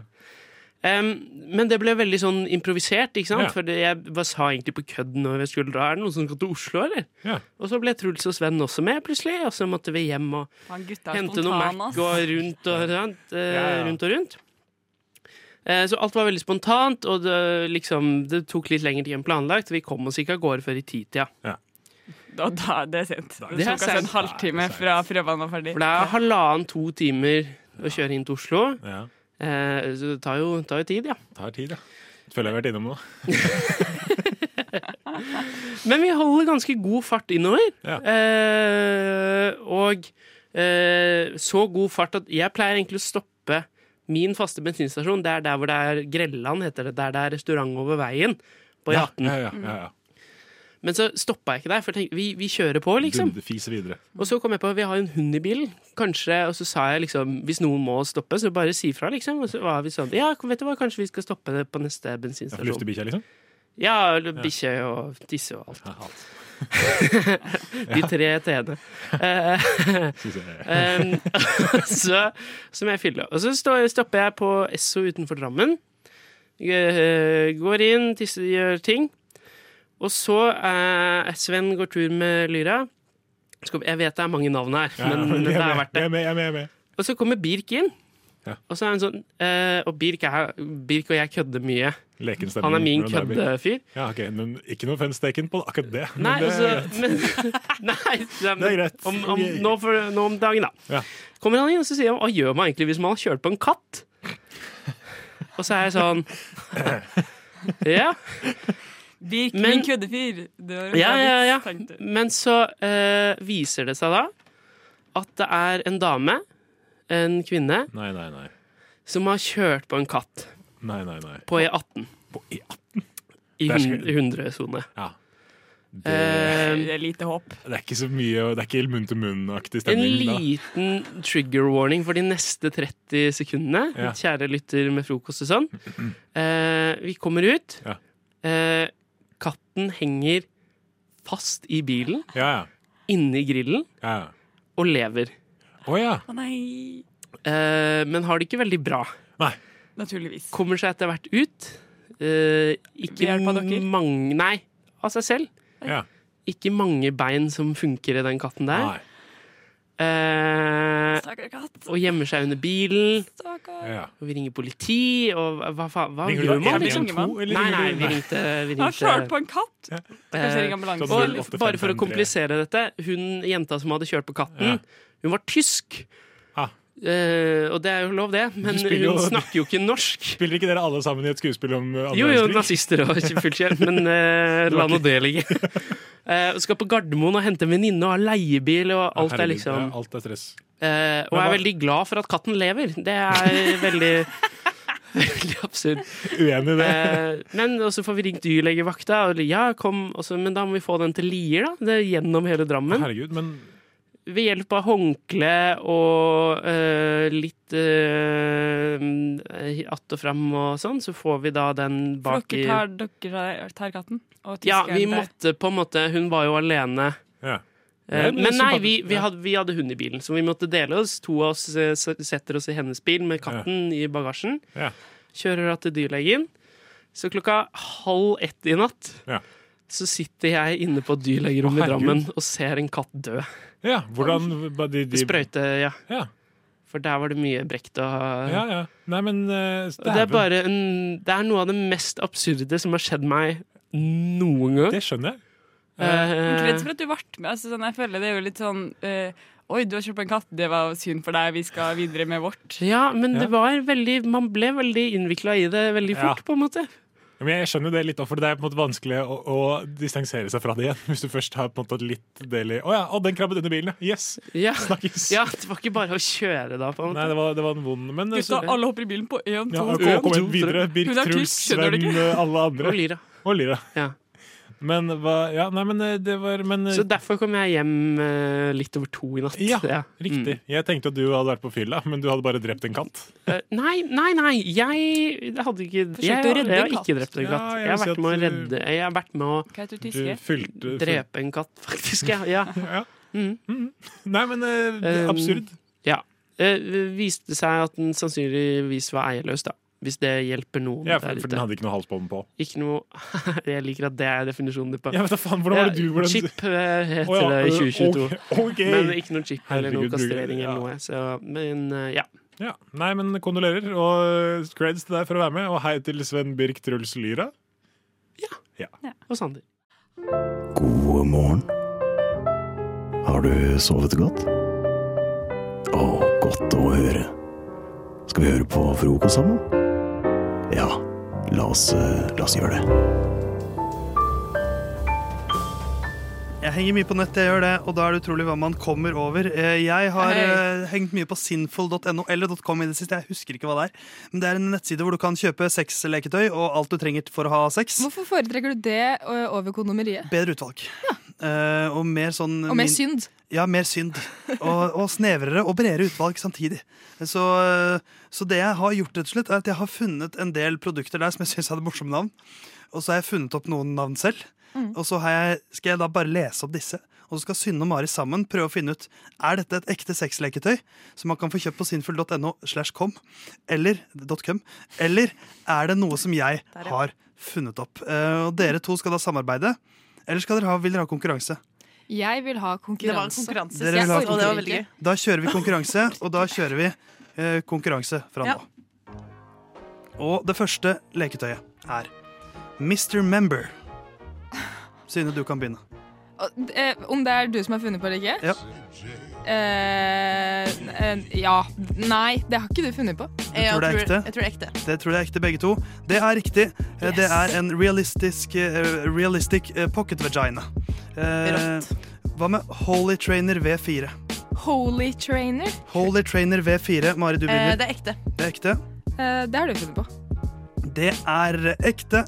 Speaker 17: Em, men det ble veldig sånn improvisert, ikke sant?
Speaker 16: Ja.
Speaker 17: For det- jeg bare sa egentlig på kødd når jeg skulle dra. Er det noen som skal til Oslo, eller?
Speaker 16: Ja.
Speaker 17: Og så ble Truls og Sven også med, plutselig. Og så måtte vi hjem og
Speaker 22: Faen, gutta er
Speaker 17: hente noe
Speaker 22: spontane,
Speaker 17: Mac
Speaker 22: ass.
Speaker 17: og rundt og rundt. eh,
Speaker 22: Ja, ja.
Speaker 17: rundt, og rundt. Eh, Så alt var veldig spontant, og det, liksom, det tok litt lengre tid enn planlagt. Vi kom oss ikke av gårde før i titida.
Speaker 22: Da, da, det er sent.
Speaker 17: er
Speaker 22: Det tok oss
Speaker 17: sent.
Speaker 22: en halvtime fra prøvene var ferdig.
Speaker 17: For det er halvannen-to timer å kjøre inn til Oslo. Eh, Så det tar jo, tar jo tid, ja.
Speaker 16: Tar tid, ja. Føler jeg har vært innom nå.
Speaker 17: Men vi holder ganske god fart innover. Eh, og eh, så god fart at jeg pleier egentlig å stoppe min faste bensinstasjon. Det er der hvor det er Grelland, heter det. Der det er restaurant over veien. På
Speaker 16: Ja,
Speaker 17: E18.
Speaker 16: ja, ja, ja, ja.
Speaker 17: Men så stoppa jeg ikke der, for jeg tenkte, vi, vi kjører på, liksom.
Speaker 16: Dundefiser videre.
Speaker 17: Og så kom jeg på vi har jo en hund i bilen, kanskje, og så sa jeg liksom hvis noen må stoppe, så bare si fra, liksom. Og så var vi sånn ja, vet du hva, kanskje vi skal stoppe det på neste
Speaker 16: Ja, for
Speaker 17: bensinstasjon.
Speaker 16: Luftebikkja, liksom?
Speaker 17: Ja, eller bikkje og tisse og alt. De tre t-ene. Eh, em, så, som jeg fyller. Og så står, stopper jeg på Esso utenfor Drammen. Eh, Går inn, tisser, gjør ting. Og så eh, Sven går tur med lyra. Skal- Jeg vet det er mange navn her,
Speaker 16: Ja,
Speaker 17: men,
Speaker 16: vi
Speaker 17: det
Speaker 16: er
Speaker 17: er
Speaker 16: med,
Speaker 17: verdt det.
Speaker 16: vi er med, jeg er med, jeg er med.
Speaker 17: Og så kommer Birk inn. Og så er han sånn eh, Og Birk, er, Birk og jeg kødder mye.
Speaker 16: Leken stemmer
Speaker 17: Han er min
Speaker 16: hvordan det er, Birk.
Speaker 17: køddefyr.
Speaker 16: Ja, ok, men Ikke noe offense taken på akkurat det. men
Speaker 17: Nei,
Speaker 16: det
Speaker 17: altså, men, nei, nei, men,
Speaker 16: Det er greit.
Speaker 17: Om, om, nå, for, nå om dagen, da. Kommer han inn og så sier han, hva gjør man egentlig hvis man har kjørt på en katt? Og så er jeg sånn Ja.
Speaker 22: Birk,
Speaker 17: Men-
Speaker 22: min køddefyr. Det var en
Speaker 17: Ja,
Speaker 22: bra
Speaker 17: ja,
Speaker 22: vits,
Speaker 17: ja.
Speaker 22: tenkte jeg.
Speaker 17: Men så eh, viser det seg da at det er en dame, en kvinne,
Speaker 16: Nei, nei, nei.
Speaker 17: som har kjørt på en katt
Speaker 16: Nei, nei, nei.
Speaker 17: på E18. I
Speaker 16: Der skal-
Speaker 17: hun- Ehm, i 100-sone.
Speaker 16: Det,
Speaker 17: Eh, Det
Speaker 16: er lite håp. Det er ikke så mye, og det er ikke
Speaker 17: En
Speaker 16: munn-til-munn-aktig stemning. da.
Speaker 17: liten trigger warning for de neste 30 sekundene,
Speaker 16: Ja.
Speaker 17: kjære lytter med frokost og sånn. Eh, vi kommer ut. Eh, katten henger fast i bilen, inni grillen, og lever.
Speaker 16: Å ja.
Speaker 22: Å nei.
Speaker 17: Eh, men har det ikke veldig bra.
Speaker 22: Naturligvis.
Speaker 17: Kommer seg etter hvert ut. Eh,
Speaker 22: Ved
Speaker 17: ikke
Speaker 22: hjelp av dere?
Speaker 17: mange Nei, av seg selv.
Speaker 16: Ja.
Speaker 17: Ikke mange bein som funker i den katten der. Eh,
Speaker 22: Stakkars katt.
Speaker 17: og gjemmer seg under bilen.
Speaker 16: Ja.
Speaker 17: Og vi ringer politi, og hva- hva faen Hva
Speaker 16: Ringer du
Speaker 17: gjør
Speaker 16: da
Speaker 17: man?
Speaker 16: en, ringer man to, eller
Speaker 17: nei,
Speaker 16: ringer
Speaker 17: nei,
Speaker 16: du-
Speaker 17: vi
Speaker 16: Nei.
Speaker 17: ringte, vi
Speaker 16: Han
Speaker 17: ringte
Speaker 16: kjørte på
Speaker 22: en katt? Kanskje
Speaker 16: Eh,
Speaker 22: ringe ambulanse.
Speaker 17: Sånn
Speaker 22: Sånn
Speaker 17: Og bare for å
Speaker 22: 0853.
Speaker 17: komplisere dette, hun jenta som hadde kjørt på katten,
Speaker 16: Ja.
Speaker 17: hun var tysk. Eh, og det er jo lov, det, men
Speaker 16: Du
Speaker 17: hun
Speaker 16: spiller jo-
Speaker 17: snakker jo ikke norsk.
Speaker 16: Spiller ikke dere alle sammen i et skuespill om eh, andre
Speaker 17: Jo, jo,
Speaker 16: verdenskrig?
Speaker 17: nazister og ikke fullt kjent, men eh,
Speaker 16: Det var
Speaker 17: la nå
Speaker 16: ikke-
Speaker 17: det ligge. Eh, og skal på Gardermoen og hente en venninne og ha leiebil, og alt er
Speaker 16: Herregud,
Speaker 17: liksom
Speaker 16: ja, Alt er stress.
Speaker 17: Eh, og
Speaker 16: Men
Speaker 17: jeg er
Speaker 16: hva-
Speaker 17: veldig glad for at katten lever. Det er veldig Veldig absurd.
Speaker 16: Uenig i
Speaker 17: Eh,
Speaker 16: det.
Speaker 17: men og så får vi ringt dyrlegevakta, og ja, kom, og så, men da må vi få den til Lier, da. Det er gjennom hele Drammen.
Speaker 16: Herregud, men
Speaker 17: Ved hjelp av håndkle og eh, litt eh, att og fram og sånn, så får vi da den
Speaker 22: For
Speaker 17: bak i
Speaker 22: dere tar, dere tar katten. Og
Speaker 17: Ja, vi
Speaker 22: tyskeren der.
Speaker 17: måtte på en måte Hun var jo alene. Eh,
Speaker 22: Det er
Speaker 17: Men nei,
Speaker 22: sympatisk,
Speaker 17: vi, vi,
Speaker 22: ja.
Speaker 17: hadde, vi hadde hund i bilen, så vi måtte dele oss. To av oss eh, s- setter oss i hennes bil med katten i bagasjen.
Speaker 16: Ja.
Speaker 17: Kjører da til dyrlegen. Så klokka halv ett i natt
Speaker 16: Ja.
Speaker 17: så sitter jeg inne på dyrlegerommet
Speaker 16: Å,
Speaker 17: i Drammen
Speaker 16: herregud.
Speaker 17: og ser en katt dø.
Speaker 16: Ja, hvordan hva de, de...
Speaker 17: Sprøyte, ja.
Speaker 16: ja.
Speaker 17: For der var det mye brekt og
Speaker 16: Ja, ja. Nei, men eh,
Speaker 17: Og Det er
Speaker 16: dæven.
Speaker 17: bare en, det er noe av det mest absurde som har skjedd meg noen gang. Eh,
Speaker 16: Det skjønner jeg.
Speaker 22: Men Kreds for at du ble med. Altså, sånn, jeg føler det er jo litt sånn eh, Oi, du har kjøpt en katt, det var synd for deg, vi skal videre med vårt.
Speaker 17: Ja, men
Speaker 22: Ja.
Speaker 17: det var veldig Man ble veldig innvikla i det veldig
Speaker 16: Ja.
Speaker 17: fort, på en måte.
Speaker 16: Ja, Men jeg skjønner jo det litt, også, for det er på en måte vanskelig å, å distansere seg fra det igjen. Hvis du først har på en måte hatt litt del i Å ja, å, den krabbet under bilen, ja. Yes!
Speaker 17: Ja.
Speaker 16: Snakkes.
Speaker 17: ja, det var ikke bare å kjøre da, på en måte.
Speaker 16: Nei, det var, det var en vond Men
Speaker 22: Gutta,
Speaker 16: så-
Speaker 22: alle hopper i bilen på én,
Speaker 16: Altså, Ja,
Speaker 22: to,
Speaker 16: og
Speaker 22: tre.
Speaker 16: kom igjen, videre. Birk,
Speaker 22: Hun er
Speaker 16: Truls,
Speaker 22: tysk, skjønner du
Speaker 16: Sven,
Speaker 22: ikke?
Speaker 16: alle andre.
Speaker 17: Og Lyra.
Speaker 16: Og Lyra.
Speaker 17: Ja.
Speaker 16: Men hva Ja, nei, men eh, det var men, eh,
Speaker 17: Så derfor kom jeg hjem eh, litt over to i natt.
Speaker 16: Ja,
Speaker 17: Mm.
Speaker 16: riktig. Jeg tenkte at du hadde vært på fylla, men du hadde bare drept en katt.
Speaker 17: Eh, nei, nei, nei, jeg hadde ikke
Speaker 16: Forsøkte
Speaker 17: Jeg,
Speaker 16: å redde
Speaker 17: jeg har
Speaker 16: en katt.
Speaker 17: ikke drept en katt.
Speaker 16: Ja, jeg
Speaker 17: jeg, har
Speaker 16: vil si
Speaker 17: vært med å
Speaker 16: at du-
Speaker 17: redde Jeg har vært med å
Speaker 22: Hva heter
Speaker 16: tyske? Du fylte-
Speaker 17: drepe en katt, faktisk. Ja. ja.
Speaker 16: Mm. Nei, men eh, det er
Speaker 17: Um,
Speaker 16: absurd.
Speaker 17: ja. Eh, viste seg at den sannsynligvis var eierløs, da. Hvis det hjelper noen
Speaker 16: Ja, for, for den hadde ikke noe halsbånd på.
Speaker 17: Ikke noe Jeg liker at det er definisjonen din på
Speaker 16: Ja, men da faen, hvordan var det
Speaker 17: Ja,
Speaker 16: du- hvordan-
Speaker 17: Chip eh, heter
Speaker 16: Å ja,
Speaker 17: det i
Speaker 16: eh,
Speaker 17: 2022.
Speaker 16: ok, ok.
Speaker 17: Men ikke noe chip eller noe
Speaker 16: Herregud, bruker-
Speaker 17: kastrering eller noe. Så, men eh, ja.
Speaker 16: Ja, Nei, men kondolerer, og eh, creds til deg for å være med. Og hei til Sven Birk Truls Lyra. Ja.
Speaker 17: Og Sander.
Speaker 7: God morgen. Har du sovet godt? Å, godt å høre. Skal vi høre på frokost sammen? Ja, la oss, eh, la oss gjøre det.
Speaker 23: Jeg henger mye på nett, jeg gjør det, og da er det utrolig hva man kommer over. Eh, Jeg har eh, hengt mye på sinful.no eller .com i det siste, jeg husker ikke hva det er. Men det er en nettside hvor du kan kjøpe sexleketøy og alt du trenger for å ha sex.
Speaker 24: Hvorfor foretrekker du det ø, over kondomeriet?
Speaker 23: Bedre utvalg. Eh, og mer sånn
Speaker 24: Og mer synd.
Speaker 23: Ja, mer synd. Og, og snevrere og bredere utvalg samtidig. Så, så det jeg har gjort, rett og slett, er at jeg har funnet en del produkter der som jeg syns hadde morsomme navn. Og så har jeg funnet opp noen navn selv.
Speaker 24: Mm.
Speaker 23: Og så har jeg, skal jeg da bare lese opp disse. Og så skal Synne og Mari sammen prøve å finne ut Er dette et ekte sexleketøy som man kan få kjøpt på sinnfull.no slash com, eller .com, eller er det noe som jeg
Speaker 5: Der, ja.
Speaker 23: har funnet opp? Eh, og dere to skal da samarbeide. Eller skal dere ha, vil dere ha konkurranse?
Speaker 24: Jeg vil ha konkurranse.
Speaker 5: Det var konkurranse,
Speaker 23: Dere vil ha konkurranse. Da kjører vi konkurranse, og da kjører vi eh, konkurranse fra
Speaker 5: Ja.
Speaker 23: nå. Og det første leketøyet er Mr. Member. Synne, du kan begynne.
Speaker 24: Og, eh, Om det er du som har funnet på det, ikke?
Speaker 23: Ja.
Speaker 24: Eh, eh, ja. Nei, det har ikke du funnet på.
Speaker 23: Du tror det er ekte? Det tror jeg er ekte, begge to. Det er riktig. Eh, Det
Speaker 24: Yes.
Speaker 23: er en realistisk, eh, realistic eh, pocket vagina. Eh, Hva med Holy Trainer V4?
Speaker 24: Holy Trainer.
Speaker 23: Holy Trainer V4, Mari, du begynner.
Speaker 24: Eh, det er ekte.
Speaker 23: Eh, Det er ekte.
Speaker 24: Eh, det har du funnet på.
Speaker 23: Det er ekte.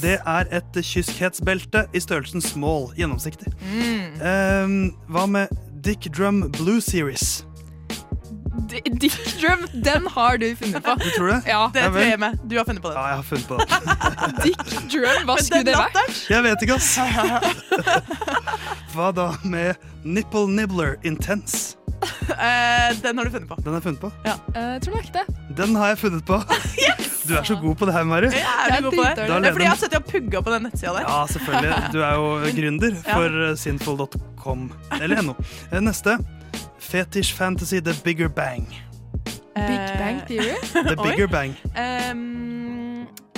Speaker 23: Det er et kyskhetsbelte i størrelsen small, gjennomsiktig.
Speaker 24: Mm.
Speaker 23: Eh, hva med Dick Drum Blue Series?
Speaker 24: D- Dick Drum, den har du funnet på.
Speaker 23: Du tror det?
Speaker 24: Ja,
Speaker 23: Ja vel.
Speaker 24: med. Du har funnet på
Speaker 23: Ja, jeg har funnet på det.
Speaker 24: Dick Drum, hva skulle det vært?
Speaker 23: Jeg vet ikke, ass. Hva da med Nipple Nibbler Intense?
Speaker 5: Eh, den har du funnet på.
Speaker 23: Den har jeg funnet på.
Speaker 24: Eh, tror du ikke det?
Speaker 23: Den har jeg funnet på. Du er så god på det her, Mari.
Speaker 5: Jeg er du god på det?
Speaker 23: Da
Speaker 5: Det er
Speaker 23: leder
Speaker 5: fordi jeg har
Speaker 23: den.
Speaker 5: sittet og pugga på den nettsida der.
Speaker 23: Ja, selvfølgelig. Du er jo gründer
Speaker 5: Ja.
Speaker 23: for eh, sinful.com. Eller NO. Eh, Neste. Fetish Fantasy The Bigger Bang.
Speaker 5: Big Bang
Speaker 24: Eh, Theory?
Speaker 23: The Bigger Bang.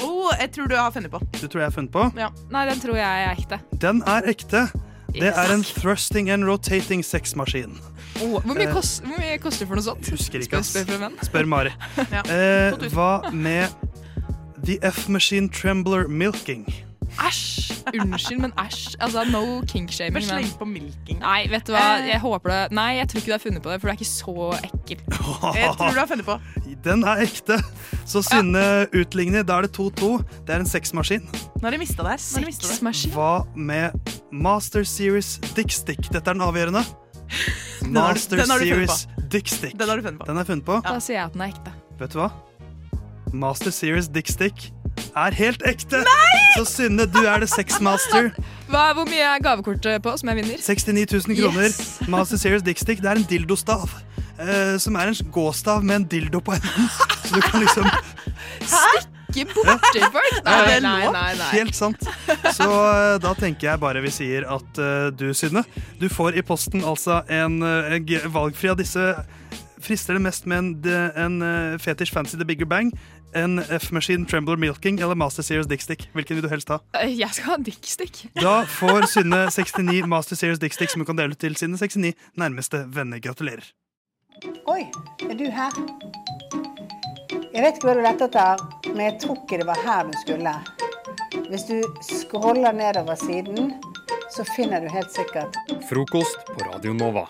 Speaker 5: oh, jeg tror du har funnet på.
Speaker 23: Du tror jeg har funnet på?
Speaker 24: Nei, den tror jeg er ekte.
Speaker 23: Den er ekte. Det er en thrusting and rotating sexmaskin.
Speaker 24: Hvor, mye
Speaker 23: Eh,
Speaker 24: kost, hvor mye koster for noe sånt?
Speaker 23: Husker ikke,
Speaker 24: Spør,
Speaker 23: ass.
Speaker 24: spør for en venn.
Speaker 23: Spør Mari. Eh, hva med The F-Machine Trembler Milking?
Speaker 24: Æsj! Unnskyld, men æsj. Altså, no kinkshaming.
Speaker 5: Bare sleng
Speaker 24: på milking. Nei, vet du hva? Jeg håper det. Nei, jeg tror ikke du har funnet på det, for det er ikke så ekkelt.
Speaker 23: Jeg tror du har
Speaker 24: funnet på.
Speaker 23: Den er ekte. Så Synne utligner. Da er det 2-2. Det er en sexmaskin.
Speaker 5: Nå har de mista det her. Nå har de mistet det.
Speaker 23: Hva med Master Series Dickstick? Dette er den avgjørende.
Speaker 5: Den har du-
Speaker 23: Master
Speaker 5: den har du funnet
Speaker 23: Series Dickstick. Den har du funnet på.
Speaker 24: Da sier jeg at den er ekte.
Speaker 23: Vet du hva? Master Series Dickstick er helt ekte. Så Synne, du er det sexmaster.
Speaker 24: Hva, hvor mye er gavekortet på som jeg vinner?
Speaker 23: 69 000 kroner. Master Series Dickstick, det er en dildostav. eh, som er en gåstav med en dildo på enden. Så du kan liksom
Speaker 24: Stikke borti folk?
Speaker 23: Ja,
Speaker 25: Eh,
Speaker 23: det er lov. Helt sant. Så eh, da tenker jeg bare vi sier at eh, du, Synne, du får i posten altså en, eh, en g- valgfri av disse. Frister det mest med en, d- en eh, Fetish Fancy The Bigger Bang, en F-Machine Trembler Milking eller Master Series Dickstick? Hvilken vil du helst ha?
Speaker 24: Eh, Jeg skal ha dickstick.
Speaker 23: Da får Synne 69 Master Series Dickstick, som hun kan dele ut til sine 69 nærmeste venner. Gratulerer.
Speaker 6: Oi, er du her? Jeg vet ikke hva du lette etter, men jeg tror ikke det var her du skulle. Hvis du scroller nedover siden, så finner du helt sikkert
Speaker 2: Frokost på Radio Nova.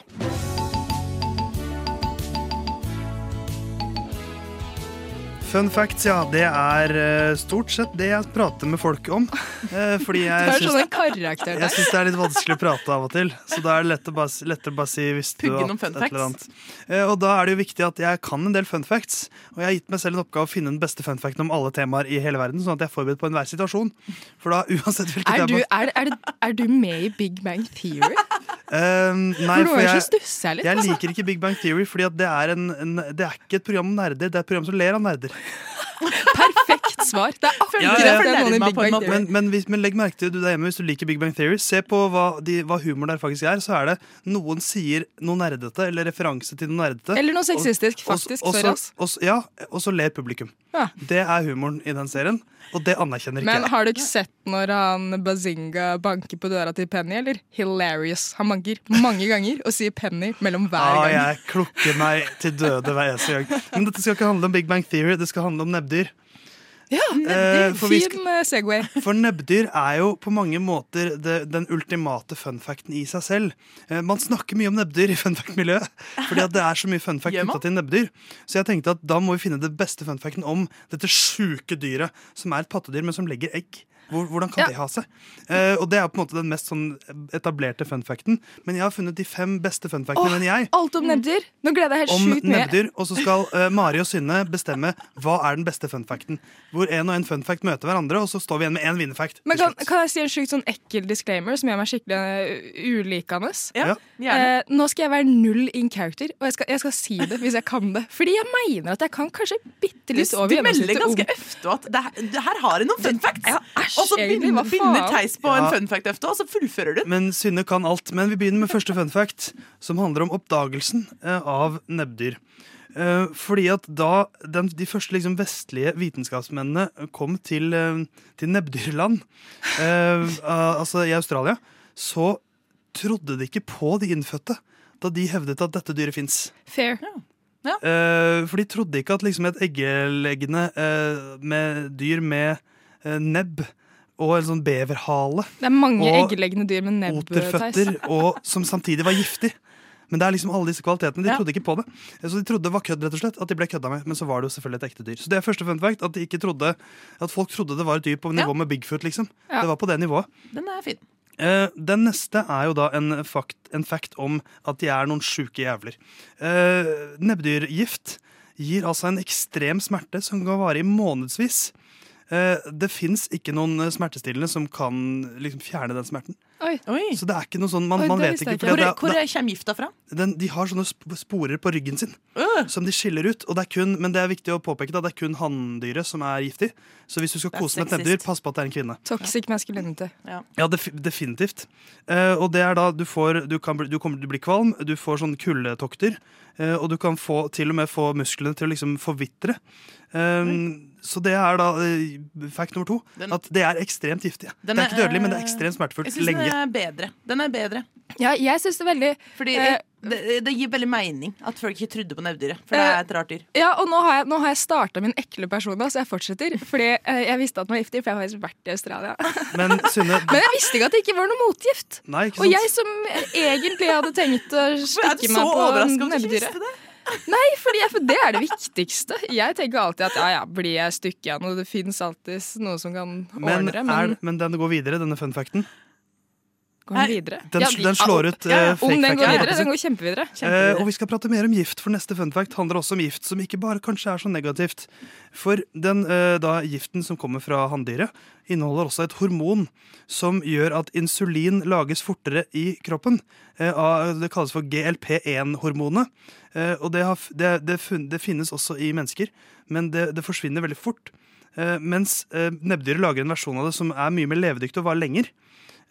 Speaker 23: Fun facts, ja. Det er eh, stort sett det jeg prater med folk om. eh, Fordi jeg
Speaker 24: du er
Speaker 23: syns-
Speaker 24: sånn en karakter
Speaker 23: Jeg
Speaker 24: der.
Speaker 23: syns det er litt vanskelig å prate av og til, så da er det lett å bare, lett å bare si hvis du
Speaker 24: Pugge
Speaker 23: har
Speaker 24: noen fun
Speaker 23: et eller
Speaker 24: facts.
Speaker 23: annet. Eh, Og da er det jo viktig at jeg kan en del fun facts, og jeg har gitt meg selv en oppgave å finne den beste fun facten om alle temaer i hele verden, sånn at jeg er forberedt på enhver situasjon. For da uansett hvilket
Speaker 24: Er du,
Speaker 23: tema-
Speaker 24: er, er, er du med i Big Bang Theory?
Speaker 23: Eh, nei,
Speaker 24: For noen
Speaker 23: for
Speaker 24: ganger
Speaker 23: jeg,
Speaker 24: så stusser jeg litt, altså.
Speaker 23: liker ikke Big Bang Theory, Fordi at det er, en, en, det er ikke et program om nerder, det er et program som ler av nerder.
Speaker 24: Perfekt svar. Det er akkurat det noen i Big Bang Theory.
Speaker 23: Men, men, hvis, men legg merke til du der hjemme hvis du liker Big Bang Theory. Se på hva, de, hva humor der faktisk er. Så er det noen sier noe nerdete, eller referanse til noe nerdete.
Speaker 24: Eller noe sexistisk,
Speaker 23: Og- og-
Speaker 24: faktisk,
Speaker 23: og-
Speaker 24: for
Speaker 23: og-
Speaker 24: oss.
Speaker 23: og- Ja, og så ler publikum.
Speaker 24: Ja.
Speaker 23: Det er humoren i den serien, og det anerkjenner ikke
Speaker 24: Men
Speaker 23: jeg.
Speaker 24: har du ikke sett når han Bazinga banker på døra til Penny, eller? Hilarious. Han banker mange ganger og sier Penny mellom hver
Speaker 23: Ah,
Speaker 24: gang.
Speaker 23: jeg klukker meg til døde hver eneste gang. Men dette skal ikke handle om Big Bang Theory, det skal handle om nebbdyr.
Speaker 24: Ja,
Speaker 23: Eh,
Speaker 24: nebbdyr.
Speaker 23: for vi
Speaker 24: fin eh, Segway.
Speaker 23: For nebbdyr er jo på mange måter det, den ultimate funfacten i seg selv. Eh, Man snakker mye om nebbdyr i funfact-miljøet, fordi at det er så mye funfact knytta til nebbdyr. Så jeg tenkte at da må vi finne det beste funfacten om dette sjuke dyret, som er et pattedyr, men som legger egg. Hvor- Hvordan kan det ha seg? Eh, og Det er på en måte den mest sånn etablerte funfacten. Men jeg har funnet de fem beste funfactene, mener jeg.
Speaker 24: alt om nebder! Nå gleder jeg helt
Speaker 23: Om
Speaker 24: sjukt mye.
Speaker 23: nebbdyr. Og så skal eh, Mari og Synne bestemme hva er den beste funfacten. Hvor en og en funfact møter hverandre, og så står vi igjen med én vinnerfact.
Speaker 24: Men kan, kan jeg si en sjukt sånn ekkel disclaimer som gjør meg skikkelig eh, ulikende?
Speaker 23: Ja,
Speaker 24: Eh,
Speaker 11: gjerne.
Speaker 24: nå skal jeg være null in character, og jeg skal, jeg skal si det hvis jeg kan det. Fordi jeg mener at jeg kan kanskje
Speaker 5: Du,
Speaker 24: bitte litt over
Speaker 5: du melder ganske
Speaker 24: gjennomsnittet om-
Speaker 5: øfte at det, her- det her har jeg noen fun facts.
Speaker 24: æsj,
Speaker 5: og så
Speaker 24: egentlig,
Speaker 5: begynner,
Speaker 24: hva faen?
Speaker 5: begynner Theis på en
Speaker 23: Ja.
Speaker 5: fun fact øfte, og så fullfører du.
Speaker 23: Men Synne kan alt. Men vi begynner med første fun fact, som handler om oppdagelsen eh, av nebbdyr. Eh, Fordi at da den, de første liksom vestlige vitenskapsmennene kom til, eh, til nebbdyrland, eh, al- altså i Australia, så trodde de ikke på de innfødte da de hevdet at dette dyret fins.
Speaker 24: Fair.
Speaker 23: Eh, for de trodde ikke at liksom, et eggeleggende eh, med dyr med eh, nebb og en sånn beverhale
Speaker 24: Det er mange
Speaker 23: og
Speaker 24: eggeleggende dyr med nebb.
Speaker 23: oterføtter,
Speaker 24: Theis.
Speaker 23: og som samtidig var giftig. Men det er liksom alle disse kvalitetene. De
Speaker 24: Ja.
Speaker 23: trodde ikke på det. Så de trodde det var kødd, rett og slett. At de ble kødda med. Men så var det jo selvfølgelig et ekte dyr. Så det er første fun fact. At, de ikke trodde, at folk trodde det var et dyr på nivå med Bigfoot, liksom.
Speaker 5: Ja.
Speaker 23: Det var på det nivået.
Speaker 5: Den er fin.
Speaker 23: Eh, den neste er jo da en fact, en fact om at de er noen sjuke jævler. Eh, nebbdyrgift gir altså en ekstrem smerte som kan vare i månedsvis. Eh, det fins ikke noen eh, smertestillende som kan liksom fjerne den smerten. Så det er ikke noe sånn, man, man vet ikke. fordi
Speaker 5: Hvor,
Speaker 23: det er-
Speaker 5: hvor
Speaker 23: det er-
Speaker 5: kommer gifta fra?
Speaker 23: den, de har sånne sp- sporer på ryggen sin som de skiller ut. Og det er kun, men det er viktig å påpeke da, det er kun hanndyret som er giftig. Så hvis du skal
Speaker 24: Det er
Speaker 23: kose med et
Speaker 24: sexist.
Speaker 23: nebbdyr, pass på at det er en kvinne.
Speaker 24: Toxic masculinity. Ja.
Speaker 23: Ja, def definitivt. Eh, og det er da du får Du, kan bli, du kommer til å bli kvalm, du får sånne kuldetokter, eh, og du kan få, til og med få musklene til å liksom forvitre. Eh, så det er da eh, fact nummer to.
Speaker 5: Den-
Speaker 23: at det er ekstremt giftig.
Speaker 5: Den
Speaker 23: det er ikke dødelig, men det
Speaker 5: eh,
Speaker 23: er ekstremt smertefullt
Speaker 5: Jeg synes
Speaker 23: lenge.
Speaker 5: den er bedre. Den er bedre.
Speaker 24: Ja, jeg syns det er veldig
Speaker 5: Fordi
Speaker 24: eh,
Speaker 5: det, det gir veldig mening at folk ikke trodde på nebbdyret. For det
Speaker 24: Eh,
Speaker 5: er et rart dyr.
Speaker 24: Ja, og nå har jeg, nå har jeg starta min ekle persona, så jeg fortsetter. Fordi eh, jeg visste at den var giftig, for jeg har faktisk vært i Australia.
Speaker 23: Men Synne
Speaker 24: Men jeg visste ikke at det ikke var noe motgift.
Speaker 23: Nei, ikke
Speaker 24: Og
Speaker 23: sant?
Speaker 24: jeg som egentlig hadde tenkt å
Speaker 5: du
Speaker 24: stikke
Speaker 5: så
Speaker 24: meg på
Speaker 5: overrasket om du ikke visste
Speaker 24: nebbdyret. Nei, fordi jeg, for det er det viktigste. Jeg tenker alltid at ja, ja, blir jeg stykket igjen, og det fins alltid noe som kan
Speaker 23: Men,
Speaker 24: ordne det.
Speaker 23: er, men den går videre, denne fun facten.
Speaker 24: går den videre?
Speaker 23: Den-
Speaker 24: Ja, de-
Speaker 23: den slår ut,
Speaker 24: ja, ja.
Speaker 23: eh, fake
Speaker 24: Om den går
Speaker 23: facts.
Speaker 24: videre, den går kjempevidere.
Speaker 23: Eh, og vi skal prate mer om gift, for neste fun fact handler også om gift, som ikke bare kanskje er så negativt. For den eh, da, giften som kommer fra hanndyret, inneholder også et hormon som gjør at insulin lages fortere i kroppen. Eh, av- det kalles for GLP1-hormonet. Eh, og det, har, f- det, det, fun, det finnes også i mennesker, men det, det forsvinner veldig fort. Eh, mens eh, nebbdyret lager en versjon av det som er mye mer levedyktig og varer lenger.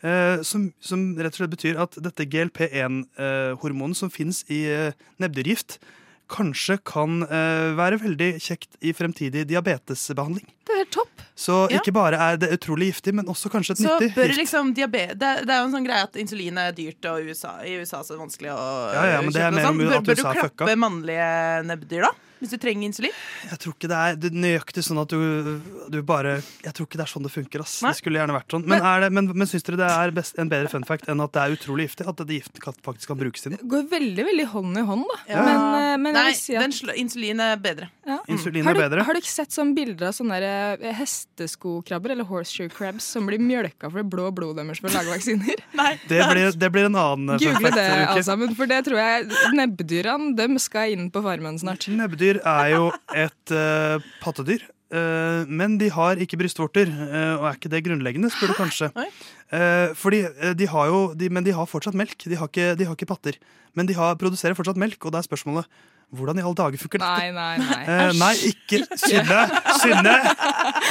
Speaker 23: Eh, som, som rett og slett betyr at dette GLP1-hormonet eh, som finnes i eh, nebbdyrgift, kanskje kan eh, være veldig kjekt i fremtidig diabetesbehandling.
Speaker 24: Det er helt topp.
Speaker 23: Så
Speaker 5: Ja.
Speaker 23: ikke bare er det utrolig giftig, men også kanskje et
Speaker 5: Så
Speaker 23: nyttig
Speaker 5: bør
Speaker 23: gift.
Speaker 5: liksom diabetes det, er- det er jo en sånn greie at insulin er dyrt, og USA, i USA så er det vanskelig å
Speaker 23: Ja, ja, men det er
Speaker 5: kjøpe noe
Speaker 23: mer
Speaker 5: sånt.
Speaker 23: om at
Speaker 5: liksom sånn. Bør, bør du
Speaker 23: USA er
Speaker 5: klappe
Speaker 23: fucka.
Speaker 5: mannlige nebbdyr, da? Hvis du trenger insulin?
Speaker 23: Jeg tror ikke det er det er nøyaktig sånn at du, du bare Jeg tror ikke det er sånn det funker. Ass.
Speaker 5: Nei.
Speaker 23: Det skulle gjerne vært sånn. Men, er det, men, men syns dere det er best, en bedre fun fact enn at det er utrolig giftig? At det giften kan- faktisk kan brukes
Speaker 5: Mm.
Speaker 23: til noe?
Speaker 24: Går veldig veldig hånd i hånd, da.
Speaker 23: Ja.
Speaker 24: Men, eh, men jeg
Speaker 5: Nei,
Speaker 24: vil si at
Speaker 5: den slå, insulin er bedre.
Speaker 24: Ja.
Speaker 23: Insulin
Speaker 24: har
Speaker 23: er
Speaker 24: du,
Speaker 23: bedre.
Speaker 24: Har du ikke sett sånne bilder av sånne der, eh, hesteskokrabber eller horseshoe crabs som blir mjølka for det blå blodet deres for å lage vaksiner?
Speaker 23: Det blir, det blir en annen eh, fun
Speaker 24: Google
Speaker 23: fact.
Speaker 24: det,
Speaker 23: Ruki.
Speaker 24: alle sammen, for det tror jeg nebbdyrene dem skal inn på farmen snart.
Speaker 23: Nebbdyr er jo et eh, pattedyr, eh, men de har ikke brystvorter. eh, og er ikke det grunnleggende, spør du kanskje. Eh, fordi eh, de har jo, de, Men de har fortsatt melk. De har ikke, de har ikke patter. Men de har, produserer fortsatt melk, og da er spørsmålet hvordan i alle dager funker dette?
Speaker 24: Nei, nei, nei.
Speaker 23: Eh, nei, ikke Synne! Synne!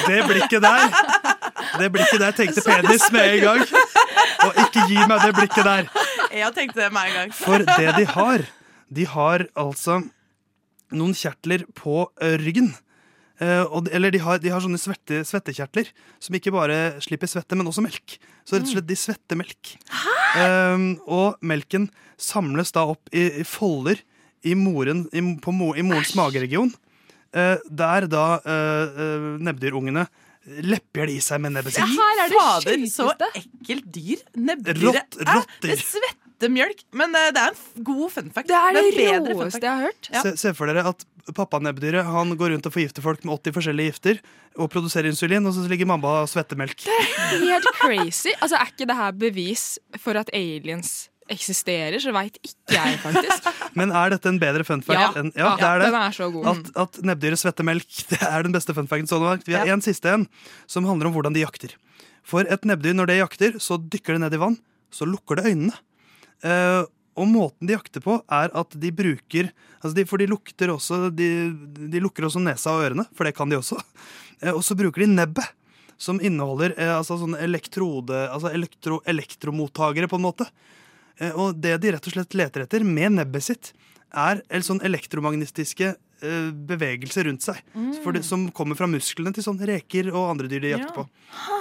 Speaker 23: Det blikket der. Det blikket der tenkte penis med en gang. Og ikke gi meg det blikket der.
Speaker 5: Jeg tenkte det meg en gang.
Speaker 23: For det de har De har altså noen kjertler på ø, ryggen. Eh, og, eller de har, de har sånne svette, svettekjertler som ikke bare slipper svette, men også melk. Så rett og slett de svetter melk. Eh, og melken samles da opp i, i folder i, moren, i, på mo, i morens mageregion. eh, der da eh, eh, nebbdyrungene lepper de i seg med nebbet sitt.
Speaker 5: Fy Fader, så ekkelt dyr nebbdyret
Speaker 23: Rått-
Speaker 5: er.
Speaker 23: rotter.
Speaker 5: Det svetter
Speaker 25: lite mjølk, men eh, det er en f- god fun fact.
Speaker 26: Det er det
Speaker 25: en bedre fun
Speaker 26: råeste
Speaker 25: fact.
Speaker 26: jeg har hørt.
Speaker 25: Ja.
Speaker 23: Se, se for dere at pappanebbdyret Han går rundt og forgifter folk med 80 forskjellige gifter og produserer insulin, og så ligger mamma og svetter melk.
Speaker 26: Helt crazy. Altså, Er ikke det her bevis for at aliens eksisterer? Så veit ikke jeg, faktisk.
Speaker 23: Men er dette en bedre fun fact?
Speaker 26: Ja.
Speaker 23: enn-
Speaker 26: Ja,
Speaker 23: det er det.
Speaker 26: den er så god.
Speaker 23: At, at nebbdyret svetter melk, det er den beste fun facten så langt. Vi har en siste en, som handler om hvordan de jakter. For et nebbdyr, når det jakter, så dykker det ned i vann, så lukker det øynene. Eh, og måten de jakter på, er at de bruker altså de, For de lukter også de, de lukker også nesa og ørene, for det kan de også. Eh, og så bruker de nebbet, som inneholder eh, altså sånne elektrode, altså elektro, elektromottagere, på en måte. Eh, Og det de rett og slett leter etter med nebbet sitt, er en sånn elektromagnetiske eh, bevegelser rundt seg.
Speaker 25: Mm.
Speaker 23: For det, som kommer fra musklene til sånn reker og andre dyr de jakter på.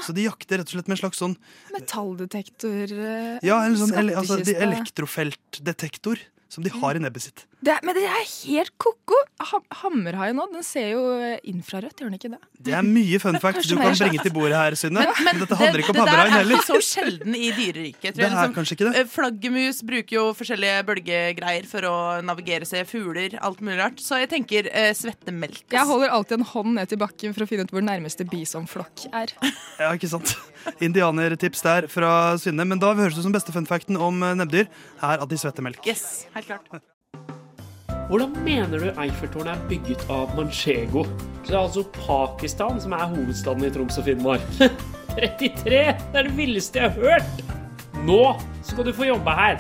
Speaker 23: Så de jakter rett og slett med en slags sånn
Speaker 26: Metalldetektor eh,
Speaker 23: Ja, en sånn ele, altså, de
Speaker 26: skattkiste.
Speaker 23: elektrofeltdetektor som de har i nebbet sitt.
Speaker 26: det er, Men det er helt ko-ko! Ha, Hammerhaien nå, den ser jo eh, infrarødt, gjør den ikke det?
Speaker 23: Det er mye fun facts
Speaker 26: Kanskje
Speaker 23: du
Speaker 26: mer
Speaker 23: kan
Speaker 26: sant.
Speaker 23: bringe til bordet her, Synne. Men, dette handler ikke om
Speaker 25: det der
Speaker 23: hammerhaien
Speaker 25: er
Speaker 23: heller.
Speaker 25: ikke så sjelden i dyreriket. tror
Speaker 23: Det
Speaker 25: jeg.
Speaker 23: er kanskje ikke det.
Speaker 25: eh, Flaggermus bruker jo forskjellige bølgegreier for å navigere seg. Fugler, alt mulig rart. Så jeg tenker eh, svettemelk.
Speaker 26: Jeg holder alltid en hånd ned til bakken for å finne ut hvor nærmeste bisonflokk er.
Speaker 23: Ja, ikke sant. Indianertips der fra Synne. Men da høres det ut som beste fun facten om eh, nebbdyr er at de svetter melk.
Speaker 25: Yes, helt klart.
Speaker 17: Hvordan mener du Eiffeltårnet er bygget av manchego? Så det er altså Pakistan som er hovedstaden i Troms og Finnmark. 33! Det er det villeste jeg har hørt! Nå skal du få jobbe her.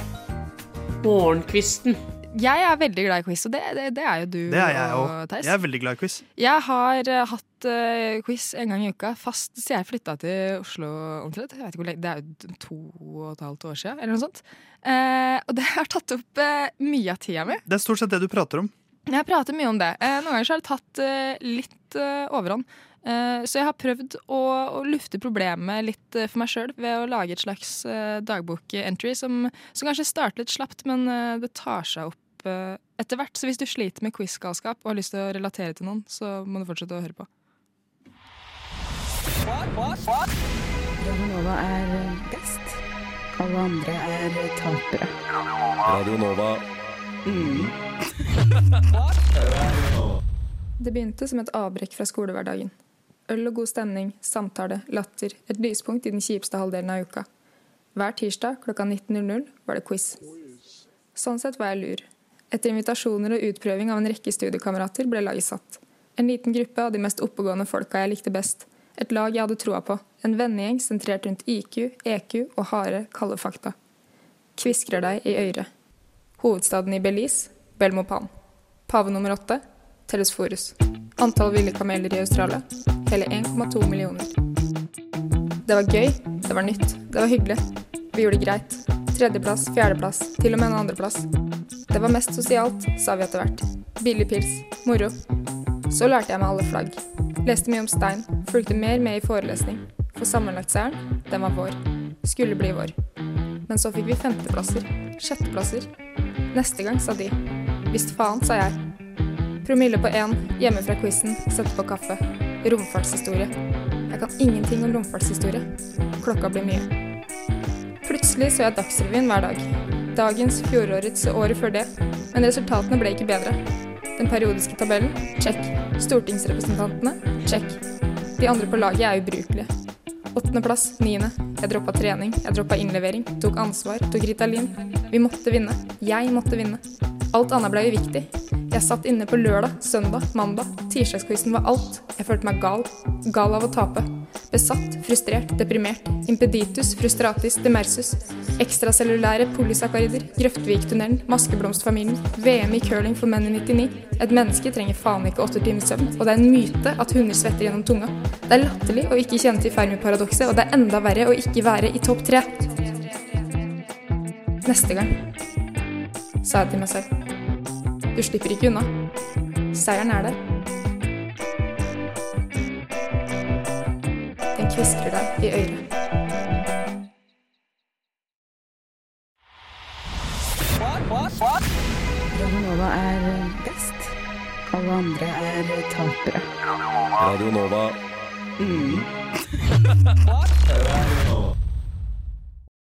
Speaker 17: Morgenkvisten.
Speaker 26: Jeg er veldig glad i quiz, og det, det, det er jo du
Speaker 23: Det er jeg òg.
Speaker 26: og Theis.
Speaker 23: Jeg er veldig glad i quiz.
Speaker 26: Jeg har eh, hatt eh, quiz en gang i uka, fast siden jeg flytta til Oslo omtrent. Jeg vet ikke hvor lenge, Det er jo to og et halvt år siden, eller noe sånt. Eh, og det har tatt opp eh, mye av tida mi.
Speaker 23: Det er stort sett det du prater om.
Speaker 26: Jeg prater mye om det. Eh, noen ganger så har det tatt eh, litt eh, overhånd. Eh, så jeg har prøvd å, å lufte problemet litt eh, for meg sjøl ved å lage et slags eh, dagbok-entry som, som kanskje starter litt slapt, men eh, det tar seg opp eh, etter hvert. Så hvis du sliter med quiz-galskap og har lyst til å relatere til noen, så må du fortsette å høre på.
Speaker 15: Radio Nova er eh, best. Alle andre er eh, tapere.
Speaker 13: Radio Nova.
Speaker 24: Mm. Det begynte som et avbrekk fra skolehverdagen. Øl og god stemning, samtale, latter, et lyspunkt i den kjipeste halvdelen av uka. Hver tirsdag klokka 19.00 var det quiz. Sånn sett var jeg lur. Etter invitasjoner og utprøving av en rekke studiekamerater ble laget satt. En liten gruppe av de mest oppegående folka jeg likte best. Et lag jeg hadde troa på. En vennegjeng sentrert rundt IQ, EQ og harde, kalde fakta. Kviskrer deg i øret. Hovedstaden i Belize, Belmopan. Pave nummer åtte, Telesforus. Antall ville kameler i Australia, hele 1,2 millioner. Det var gøy, det var nytt, det var hyggelig. Vi gjorde det greit. Tredjeplass, fjerdeplass, til og med en andreplass. Det var mest sosialt, sa vi etter hvert. Billig pils, moro. Så lærte jeg meg alle flagg. Leste mye om stein, fulgte mer med i forelesning. For sammenlagtseieren, den var vår. Skulle bli vår. Men så fikk vi femteplasser, sjetteplasser. Neste gang, sa de. Visst faen, sa jeg. Promille på én, hjemme fra quizen, sette på kaffe. Romfartshistorie. Jeg kan ingenting om romfartshistorie. Klokka blir mye. Plutselig så jeg Dagsrevyen hver dag. Dagens, fjorårets og året før det. Men resultatene ble ikke bedre. Den periodiske tabellen? Check. Stortingsrepresentantene? Check. De andre på laget er ubrukelige. Åttendeplass, niende. Jeg droppa trening, jeg droppa innlevering, tok ansvar, tok Ritalin. Vi måtte vinne. Jeg måtte vinne. Alt annet ble uviktig. Jeg satt inne på lørdag, søndag, mandag. Tirsdagsquizen var alt. Jeg følte meg gal. Gal av å tape. Besatt, frustrert, deprimert. Impeditus, frustratis, demersus. Ekstracellulære polysakkarider. Grøftviktunnelen. Maskeblomstfamilien. VM i curling for menn i 99. Et menneske trenger faen ikke åtte timers søvn. Og det er en myte at hunder svetter gjennom tunga. Det er latterlig å ikke kjenne til Fermi-paradokset, og det er enda verre å ikke være i topp tre. Neste gang, sa jeg til meg selv. Du slipper ikke unna. Seieren er der. Den kviskrer deg i øret.
Speaker 15: Radio Nova er eh, best. Alle andre er eh, tapere.
Speaker 13: Radio Nova.